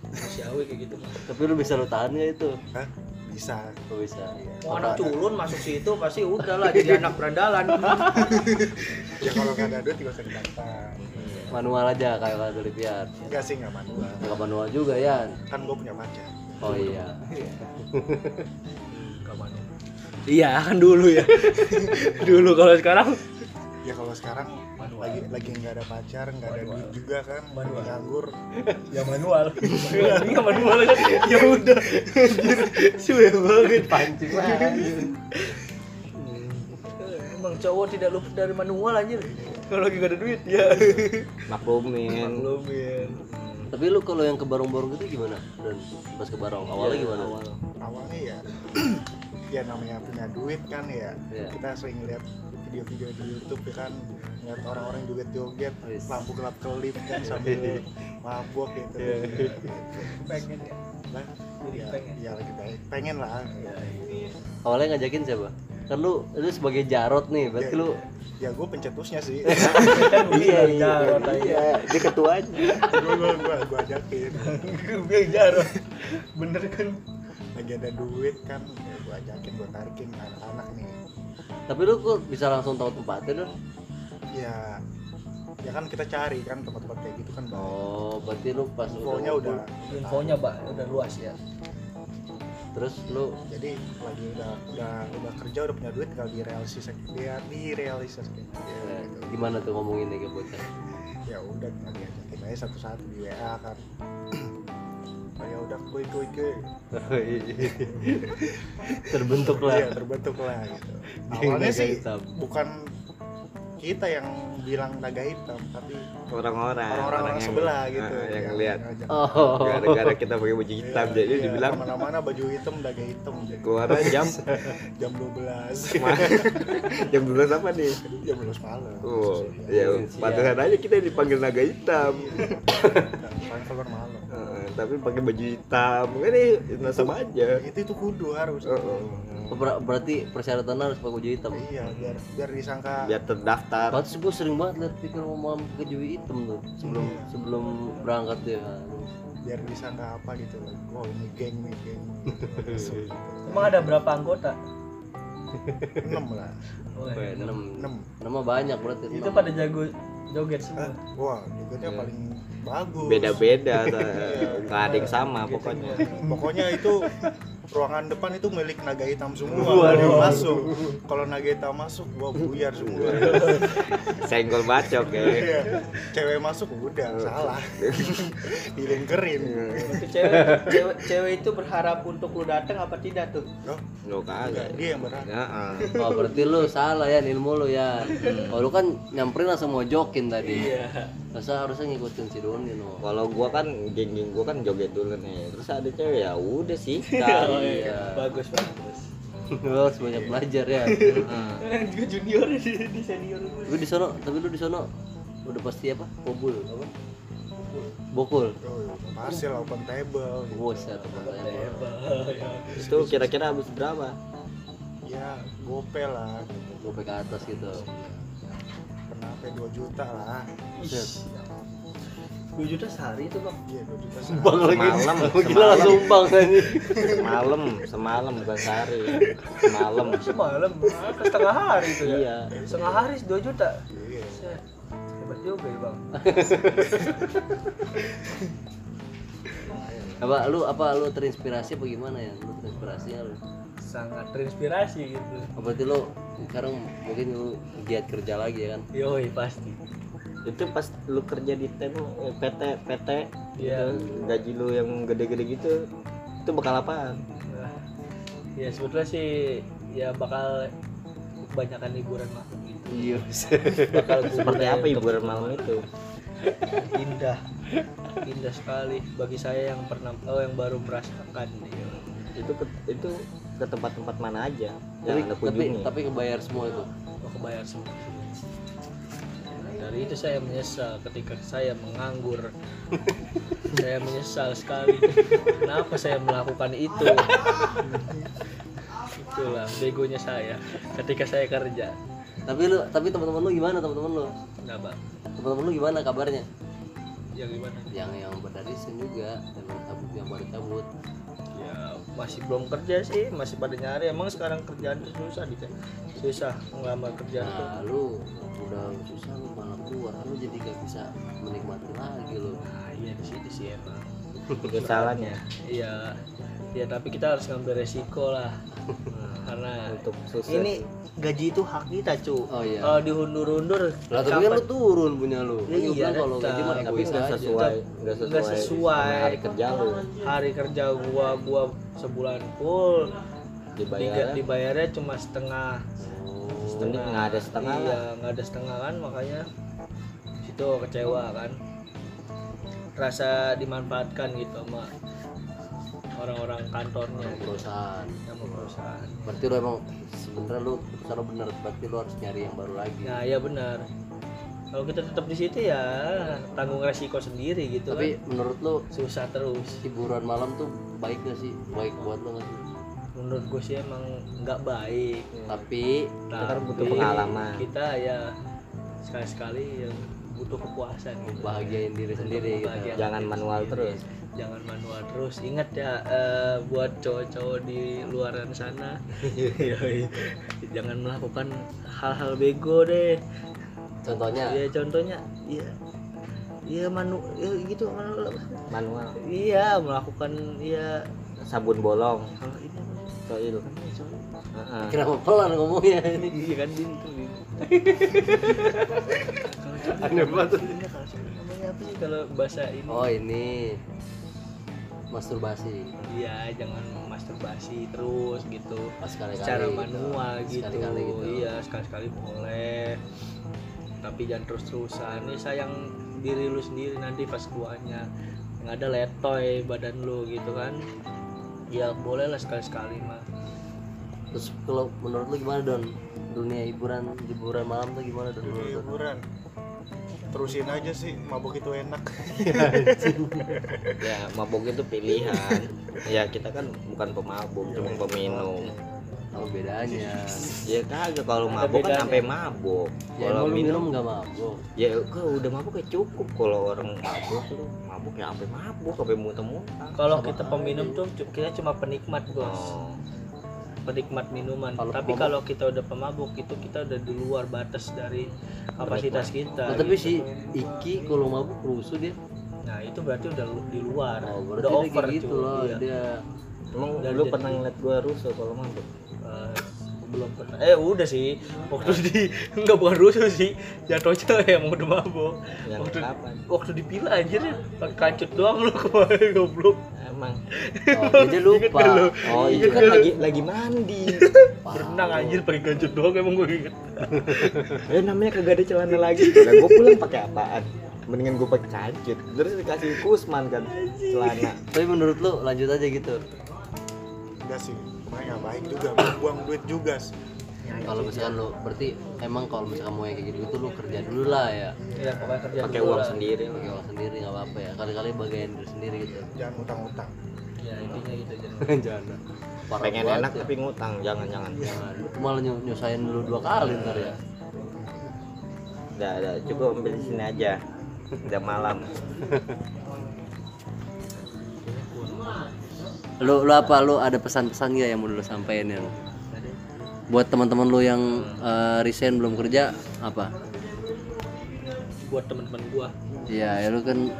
Speaker 2: manusiawi kayak gitu mah
Speaker 1: Tapi lu bisa lu tahan nggak itu?
Speaker 5: Hah? bisa
Speaker 1: Lu bisa.
Speaker 2: mau anak culun masuk situ pasti udah lah jadi anak berandalan
Speaker 5: ya kalau nggak ada duit juga usah ditantang
Speaker 1: Manual aja kayak kata Lipian.
Speaker 5: enggak sih nggak manual
Speaker 1: Enggak manual juga ya.
Speaker 5: kan gua punya pacar
Speaker 1: Oh iya.
Speaker 5: ya?
Speaker 2: iya kan dulu ya dulu kalau sekarang
Speaker 5: ya kalau sekarang lagi lagi nggak ada pacar nggak ada duit juga kan manual nganggur
Speaker 2: ya manual ya manual kan ya udah suwe banget
Speaker 1: Pancing lah.
Speaker 2: emang cowok tidak luput dari manual anjir kalau lagi gak ada duit ya
Speaker 6: maklumin
Speaker 2: belum ya
Speaker 1: Tapi lu kalau yang ke barong-barong gitu gimana? Dan pas ke barong
Speaker 5: Iya,
Speaker 1: awalnya gimana? Awal.
Speaker 5: awalnya ya ya namanya punya duit kan ya
Speaker 1: Iya.
Speaker 5: kita sering lihat video-video di YouTube ya kan ngeliat orang-orang joget-joget
Speaker 1: Wis.
Speaker 5: lampu gelap kelip kan sambil mabuk gitu
Speaker 2: pengen ya
Speaker 5: lah
Speaker 2: Jadi
Speaker 5: ya,
Speaker 2: pengen.
Speaker 5: ya lagi baik pengen lah
Speaker 2: Iya,
Speaker 1: Awalnya ngajakin siapa? Kan lu lu sebagai Jarot nih, berarti
Speaker 5: Iya.
Speaker 1: lu
Speaker 5: ya gue pencetusnya sih
Speaker 2: Kan Ubi
Speaker 6: Iya,
Speaker 2: dari
Speaker 6: iya,
Speaker 2: Jarot aja.
Speaker 6: iya. Dia ketuanya.
Speaker 5: gue gue gue gue ajakin
Speaker 2: Gue bilang Jarot.
Speaker 5: bener kan lagi ada duit kan ya gue ajakin gue tarikin anak-anak nih
Speaker 1: Tapi lu kok bisa langsung tahu tempatnya dong?
Speaker 5: ya ya kan kita cari kan tempat-tempat kayak gitu kan bang
Speaker 1: Oh, berarti lu pas lu
Speaker 5: pokoknya udah
Speaker 2: Infonya bah, udah luas ya.
Speaker 1: Terus lu
Speaker 5: jadi lagi udah udah udah kerja udah punya duit tinggal direalisasikan direalisasikan
Speaker 1: eh,
Speaker 5: gitu
Speaker 1: gimana tuh ngomonginnya ke bocah?
Speaker 5: ya udah tinggal diajakin aja satu-satu di WA kan oh ya udah kuy kuy kuy
Speaker 2: Oh, iya.
Speaker 1: Terbentuk
Speaker 5: iya
Speaker 1: lah. Iya,
Speaker 5: terbentuk lah gitu
Speaker 1: Geng
Speaker 5: awalnya
Speaker 1: naga
Speaker 5: sih
Speaker 1: hitam.
Speaker 5: bukan kita yang bilang naga hitam tapi
Speaker 6: Orang-orang.
Speaker 5: orang-orang
Speaker 6: Ah, yang-
Speaker 5: sebelah gitu
Speaker 6: Ah, yang lihat.
Speaker 5: ngajak.
Speaker 1: Oh.
Speaker 6: Gara-gara kita pakai baju hitam
Speaker 5: Iya,
Speaker 6: jadi
Speaker 5: iya,
Speaker 6: dibilang
Speaker 5: kemana-mana baju hitam naga hitam jadi
Speaker 6: keluar jam
Speaker 5: jam 12
Speaker 6: jam 12 apa nih?
Speaker 5: jam 12 malam Iya.
Speaker 6: Oh, ya pantesan aja kita dipanggil naga hitam.
Speaker 5: Paling keluar malam
Speaker 6: Eh, tapi pakai baju hitam. Kan ini nah, sama aja.
Speaker 5: Ya, itu itu kudu harus
Speaker 6: Heeh.
Speaker 1: Ber- berarti persyaratan harus pakai baju hitam.
Speaker 5: iya biar biar disangka
Speaker 6: Biar terdaftar.
Speaker 1: Pantes gue sering banget liat pikir mama pakai baju hitam tuh sebelum sebelum berangkat ya. dia.
Speaker 5: biar disangka apa gitu loh oh ini geng nih geng
Speaker 2: Emang ada berapa anggota?
Speaker 5: 6 lah
Speaker 2: Woy.
Speaker 1: Enam,
Speaker 5: 6
Speaker 1: nama banyak berarti.
Speaker 2: Itu
Speaker 1: enam.
Speaker 2: pada jago joget semua.
Speaker 5: wah jogetnya
Speaker 6: Iya.
Speaker 5: paling bagus
Speaker 6: Beda-beda. Enggak ada yang sama pokoknya.
Speaker 5: pokoknya itu ruangan depan itu milik naga hitam semua
Speaker 1: Waduh.
Speaker 5: Kalau dia masuk kalau naga hitam masuk gua buyar semua
Speaker 1: Iya.
Speaker 6: Senggol bacok ya.
Speaker 5: Iya. cewek masuk udah salah dilingkerin
Speaker 1: Iya.
Speaker 2: Itu cewek, cewek, cewek itu berharap untuk lu datang apa tidak tuh?
Speaker 5: Loh,
Speaker 6: Lo
Speaker 5: enggak,
Speaker 6: kagak.
Speaker 5: dia yang berat
Speaker 6: Heeh.
Speaker 1: Oh berarti lu salah ya ilmu lu ya. Kalau lu kan nyamperin langsung mojokin tadi.
Speaker 2: Iya.
Speaker 1: Masa harusnya ngikutin si Doni no.
Speaker 6: Kalau gua kan geng-geng gua kan joget dulu nih. Terus ada cewek ya udah sih. Oh,
Speaker 1: Nah,
Speaker 2: iya.
Speaker 1: iya.
Speaker 2: Bagus bagus.
Speaker 1: Lu harus banyak belajar ya.
Speaker 2: Kan juga junior di, di senior gue.
Speaker 1: Lu di sono, tapi lu di sono udah pasti apa? Bobul apa? Bokul.
Speaker 5: Oh, pasti lah open table gitu.
Speaker 1: Buset pertanyaan.
Speaker 6: Itu kira-kira habis berapa?
Speaker 5: ya gope lah gitu.
Speaker 1: Gue ke atas gitu.
Speaker 5: pernah sampai 2 juta lah
Speaker 1: Buset.
Speaker 2: 2 juta sehari itu bang.
Speaker 5: iya 2 juta
Speaker 1: Bang lagi.
Speaker 6: Semalam,
Speaker 1: Gila
Speaker 6: semalam.
Speaker 1: langsung bang tadi.
Speaker 6: Semalam, semalam bukan sehari. Semalam.
Speaker 2: Semalam, ah, setengah hari itu ya.
Speaker 6: Iya.
Speaker 2: Setengah hari 2 juta.
Speaker 5: iya
Speaker 2: Set. Hebat juga ya bang.
Speaker 1: Apa lu apa lu terinspirasi apa gimana ya? Lu terinspirasinya lu.
Speaker 2: Sangat terinspirasi gitu.
Speaker 1: Oh, Berarti lu sekarang mungkin lu giat kerja lagi ya kan?
Speaker 2: Yoi pasti.
Speaker 6: Itu pas lu kerja di TEN, eh, PT, PT,
Speaker 2: Iya.
Speaker 6: gitu, gaji lu yang gede-gede gitu, itu bakal apaan?
Speaker 2: Nah, ya sebetulnya sih ya bakal kebanyakan liburan malam gitu.
Speaker 1: Iya.
Speaker 2: Bakal
Speaker 6: Seperti
Speaker 2: budaya
Speaker 6: apa hiburan malam itu?
Speaker 2: indah indah sekali bagi saya yang pernah oh yang baru merasakan ya.
Speaker 6: Itu ke, itu ke tempat-tempat mana aja
Speaker 1: tapi,
Speaker 6: yang anda
Speaker 1: tapi
Speaker 6: kunjungi?
Speaker 1: tapi kebayar semua itu.
Speaker 2: Oh, kebayar semua Nah, dari itu saya menyesal ketika saya menganggur saya menyesal sekali kenapa saya melakukan itu itulah begonya saya ketika saya kerja
Speaker 1: Tapi lu tapi teman-teman lu gimana teman-teman lu?
Speaker 2: nah bang
Speaker 1: Teman-teman lu gimana kabarnya?
Speaker 2: yang gimana
Speaker 1: Yang yang dari sini juga yang baru cabut yang baru cabut.
Speaker 2: ya masih belum kerja sih masih pada nyari emang sekarang kerjaan tuh susah di susah ngelamar kerja tuh
Speaker 1: Nah, lu udah susah lu malah keluar, lu jadi gak bisa menikmati lagi lu.
Speaker 2: nah iya di situ sih emang
Speaker 6: Kesalahannya
Speaker 2: iya ya tapi kita harus ngambil resiko lah Nah, karena
Speaker 6: untuk sukses.
Speaker 2: ini gaji itu hak kita cu
Speaker 1: Oh iya.
Speaker 2: kalau dihundur-hundur
Speaker 1: Lah tapi kan lu turun punya lu. Lu
Speaker 2: Ya, iya,
Speaker 1: bilang kalau
Speaker 2: tetap.
Speaker 1: gaji mah
Speaker 6: tapi
Speaker 1: egois
Speaker 6: nggak
Speaker 1: aja.
Speaker 6: sesuai, nggak
Speaker 2: Nggak
Speaker 6: sesuai,
Speaker 2: sesuai.
Speaker 6: sama hari kerja lu
Speaker 2: hari kerja gua gua sebulan full diga-
Speaker 6: dibayar.
Speaker 2: dibayarnya cuma setengah
Speaker 1: Oh,
Speaker 6: Setengah nggak ada setengah
Speaker 2: iya
Speaker 6: lah.
Speaker 2: nggak ada setengah kan makanya situ kecewa kan rasa dimanfaatkan gitu sama orang-orang kantornya gitu
Speaker 1: Perusahaan.
Speaker 2: sama perusahaan
Speaker 1: Berarti lu emang sebenernya lu kalau bener berarti lu harus nyari yang baru lagi.
Speaker 2: nah ya benar kalau kita tetap di situ ya tanggung resiko sendiri gitu
Speaker 1: tapi
Speaker 2: kan
Speaker 1: menurut lu
Speaker 2: susah terus
Speaker 1: hiburan malam tuh baik gak sih? Baik buat lu gak sih?
Speaker 2: menurut gue sih emang nggak baik
Speaker 6: Iya,
Speaker 1: tapi
Speaker 6: Kita kan butuh pengalaman.
Speaker 2: kita ya sekali sekali yang butuh kepuasan gitu
Speaker 1: bahagiain diri sendiri gitu
Speaker 2: Bahagia.
Speaker 6: Jangan manual terus.
Speaker 2: jangan manual terus ingat ya eh, buat cowok-cowok di luaran sana Yoi. jangan melakukan hal-hal bego deh
Speaker 1: contohnya
Speaker 2: ya contohnya ya ya manu ya gitu manu
Speaker 6: Manual.
Speaker 2: iya melakukan ya
Speaker 6: Sabun bolong.
Speaker 2: kalau ini apa sih?
Speaker 6: Soil. Heeh.
Speaker 1: kenapa pelan ngomongnya ini
Speaker 2: iya kan din tuh Din. Kalau cowok
Speaker 1: Aneh banget.
Speaker 2: Iya, kalau cowok namanya apa sih kalau bahasa ini
Speaker 1: oh ini masturbasi
Speaker 2: iya jangan masturbasi terus gitu
Speaker 1: pas sekali kali
Speaker 2: secara manual gitu,
Speaker 1: sekali gitu
Speaker 2: iya sekali-sekali boleh tapi jangan terus-terusan ini sayang diri lu sendiri nanti pas tuanya nggak ada letoy badan lu gitu kan ya boleh lah sekali-sekali mah
Speaker 1: terus kalau menurut lu gimana don dunia hiburan hiburan malam tuh gimana don menurut
Speaker 2: Iya.
Speaker 1: lu?
Speaker 5: liburan terusin aja sih mabuk itu enak
Speaker 6: Ya, mabuk itu pilihan. ya, kita kan bukan pemabuk, cuma peminum.
Speaker 1: apa bedanya
Speaker 6: Ya kagak kalau
Speaker 2: Ada
Speaker 6: mabuk
Speaker 2: bedanya.
Speaker 6: kan sampai mabuk.
Speaker 1: ya emang
Speaker 6: Kalau
Speaker 1: lu minum
Speaker 6: minum
Speaker 1: nggak mabuk
Speaker 6: ya kalau udah mabuk ya cukup kalau orang mabuk lu mabuk ya sampai mabuk sampai muntah-muntah.
Speaker 2: kalau kita peminum
Speaker 1: gitu.
Speaker 2: tuh cu- kita cuma penikmat bos
Speaker 6: Oh.
Speaker 2: penikmat minuman
Speaker 1: Kalau
Speaker 2: tapi
Speaker 1: pemabuk?
Speaker 2: kalau kita udah pemabuk itu kita udah di luar batas dari kapasitas
Speaker 1: Nah,
Speaker 2: kita
Speaker 1: tapi si
Speaker 2: gitu.
Speaker 1: Iki kalau mabuk rusuh dia
Speaker 2: nah itu berarti udah lu- di luar
Speaker 1: oh,
Speaker 2: udah
Speaker 1: berarti dia
Speaker 2: over
Speaker 1: kayak gitu
Speaker 2: cuy.
Speaker 1: loh
Speaker 2: Iya.
Speaker 1: dia
Speaker 6: Emang
Speaker 2: Dan
Speaker 6: lu
Speaker 2: jadi-
Speaker 6: pernah ngeliat gua rusuh kalau mabuk?
Speaker 2: Eh, belum pernah eh udah sih waktu di nggak bukan rusuh sih jatuhnya emang udah mabok
Speaker 6: Yang
Speaker 2: Waktu-
Speaker 6: Ya, kapan?
Speaker 2: waktu dipila anjir pakai kancut doang lu kemarin goblok
Speaker 6: Emang.
Speaker 1: oh, dia aja lupa iya.
Speaker 6: Oh, itu kan lagi lagi mandi.
Speaker 2: berenang anjir pakai kancut doang emang gue inget
Speaker 6: Eh namanya kagak ada celana lagi. Lah gua pulang pakai apaan? Mendingan gua pakai kancut. Terus dikasih kusman kan celana.
Speaker 1: tapi menurut lu lanjut aja gitu
Speaker 6: Ya,
Speaker 5: enggak sih kemarin nggak baik juga buang duit juga sih
Speaker 1: kalau misalkan lu berarti emang kalau misalkan mau yang kayak gitu gitu lu kerja dulu lah ya
Speaker 2: ya pokoknya kerja
Speaker 6: Pakai
Speaker 2: dulu
Speaker 6: uang
Speaker 2: lah.
Speaker 6: sendiri.
Speaker 1: pakai uang sendiri nggak apa-apa ya kali-kali bagian diri sendiri gitu
Speaker 5: jangan utang-utang
Speaker 2: ya intinya gitu aja
Speaker 1: jangan Parah
Speaker 6: Pengen
Speaker 1: banget
Speaker 6: enak
Speaker 1: ya.
Speaker 6: tapi ngutang, jangan-jangan.
Speaker 1: jangan Lu malah nyu- nyusahin dulu dua kali ntar ya
Speaker 6: Udah, udah cukup ambil di sini aja. Udah malam.
Speaker 1: lu lu apa lu ada pesan-pesan gak yang mau lu sampein yang buat teman-teman lu yang eh, resign belum kerja apa
Speaker 2: buat teman-teman gua
Speaker 1: iya ya lu kan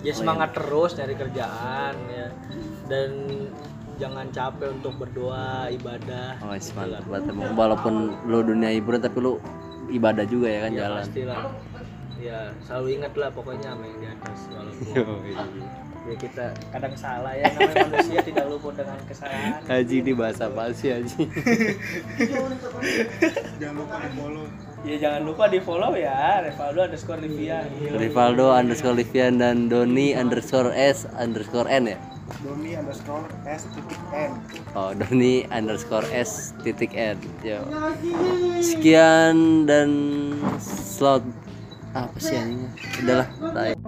Speaker 2: ya semangat terus nyari kerjaan ya dan jangan capek untuk berdoa ibadah
Speaker 1: oh is mantap banget emang. walaupun lu dunia hiburan tapi lu ibadah juga ya kan
Speaker 2: ya
Speaker 1: jalan
Speaker 2: pastilah ya selalu ingat lah pokoknya sama yang di atas walaupun ya kita kadang salah ya namanya manusia tidak luput dengan kesalahan
Speaker 1: Haji di bahasa apa sih Haji?
Speaker 5: jangan lupa di follow
Speaker 2: ya jangan lupa di follow ya Revaldo underscore Livia
Speaker 1: Rivaldo underscore Livian dan Doni underscore S underscore N ya?
Speaker 5: Doni underscore S titik N
Speaker 1: Oh, Doni underscore S titik N. Yo. Sekian dan slot apa sih anjingnya? Udahlah, tai.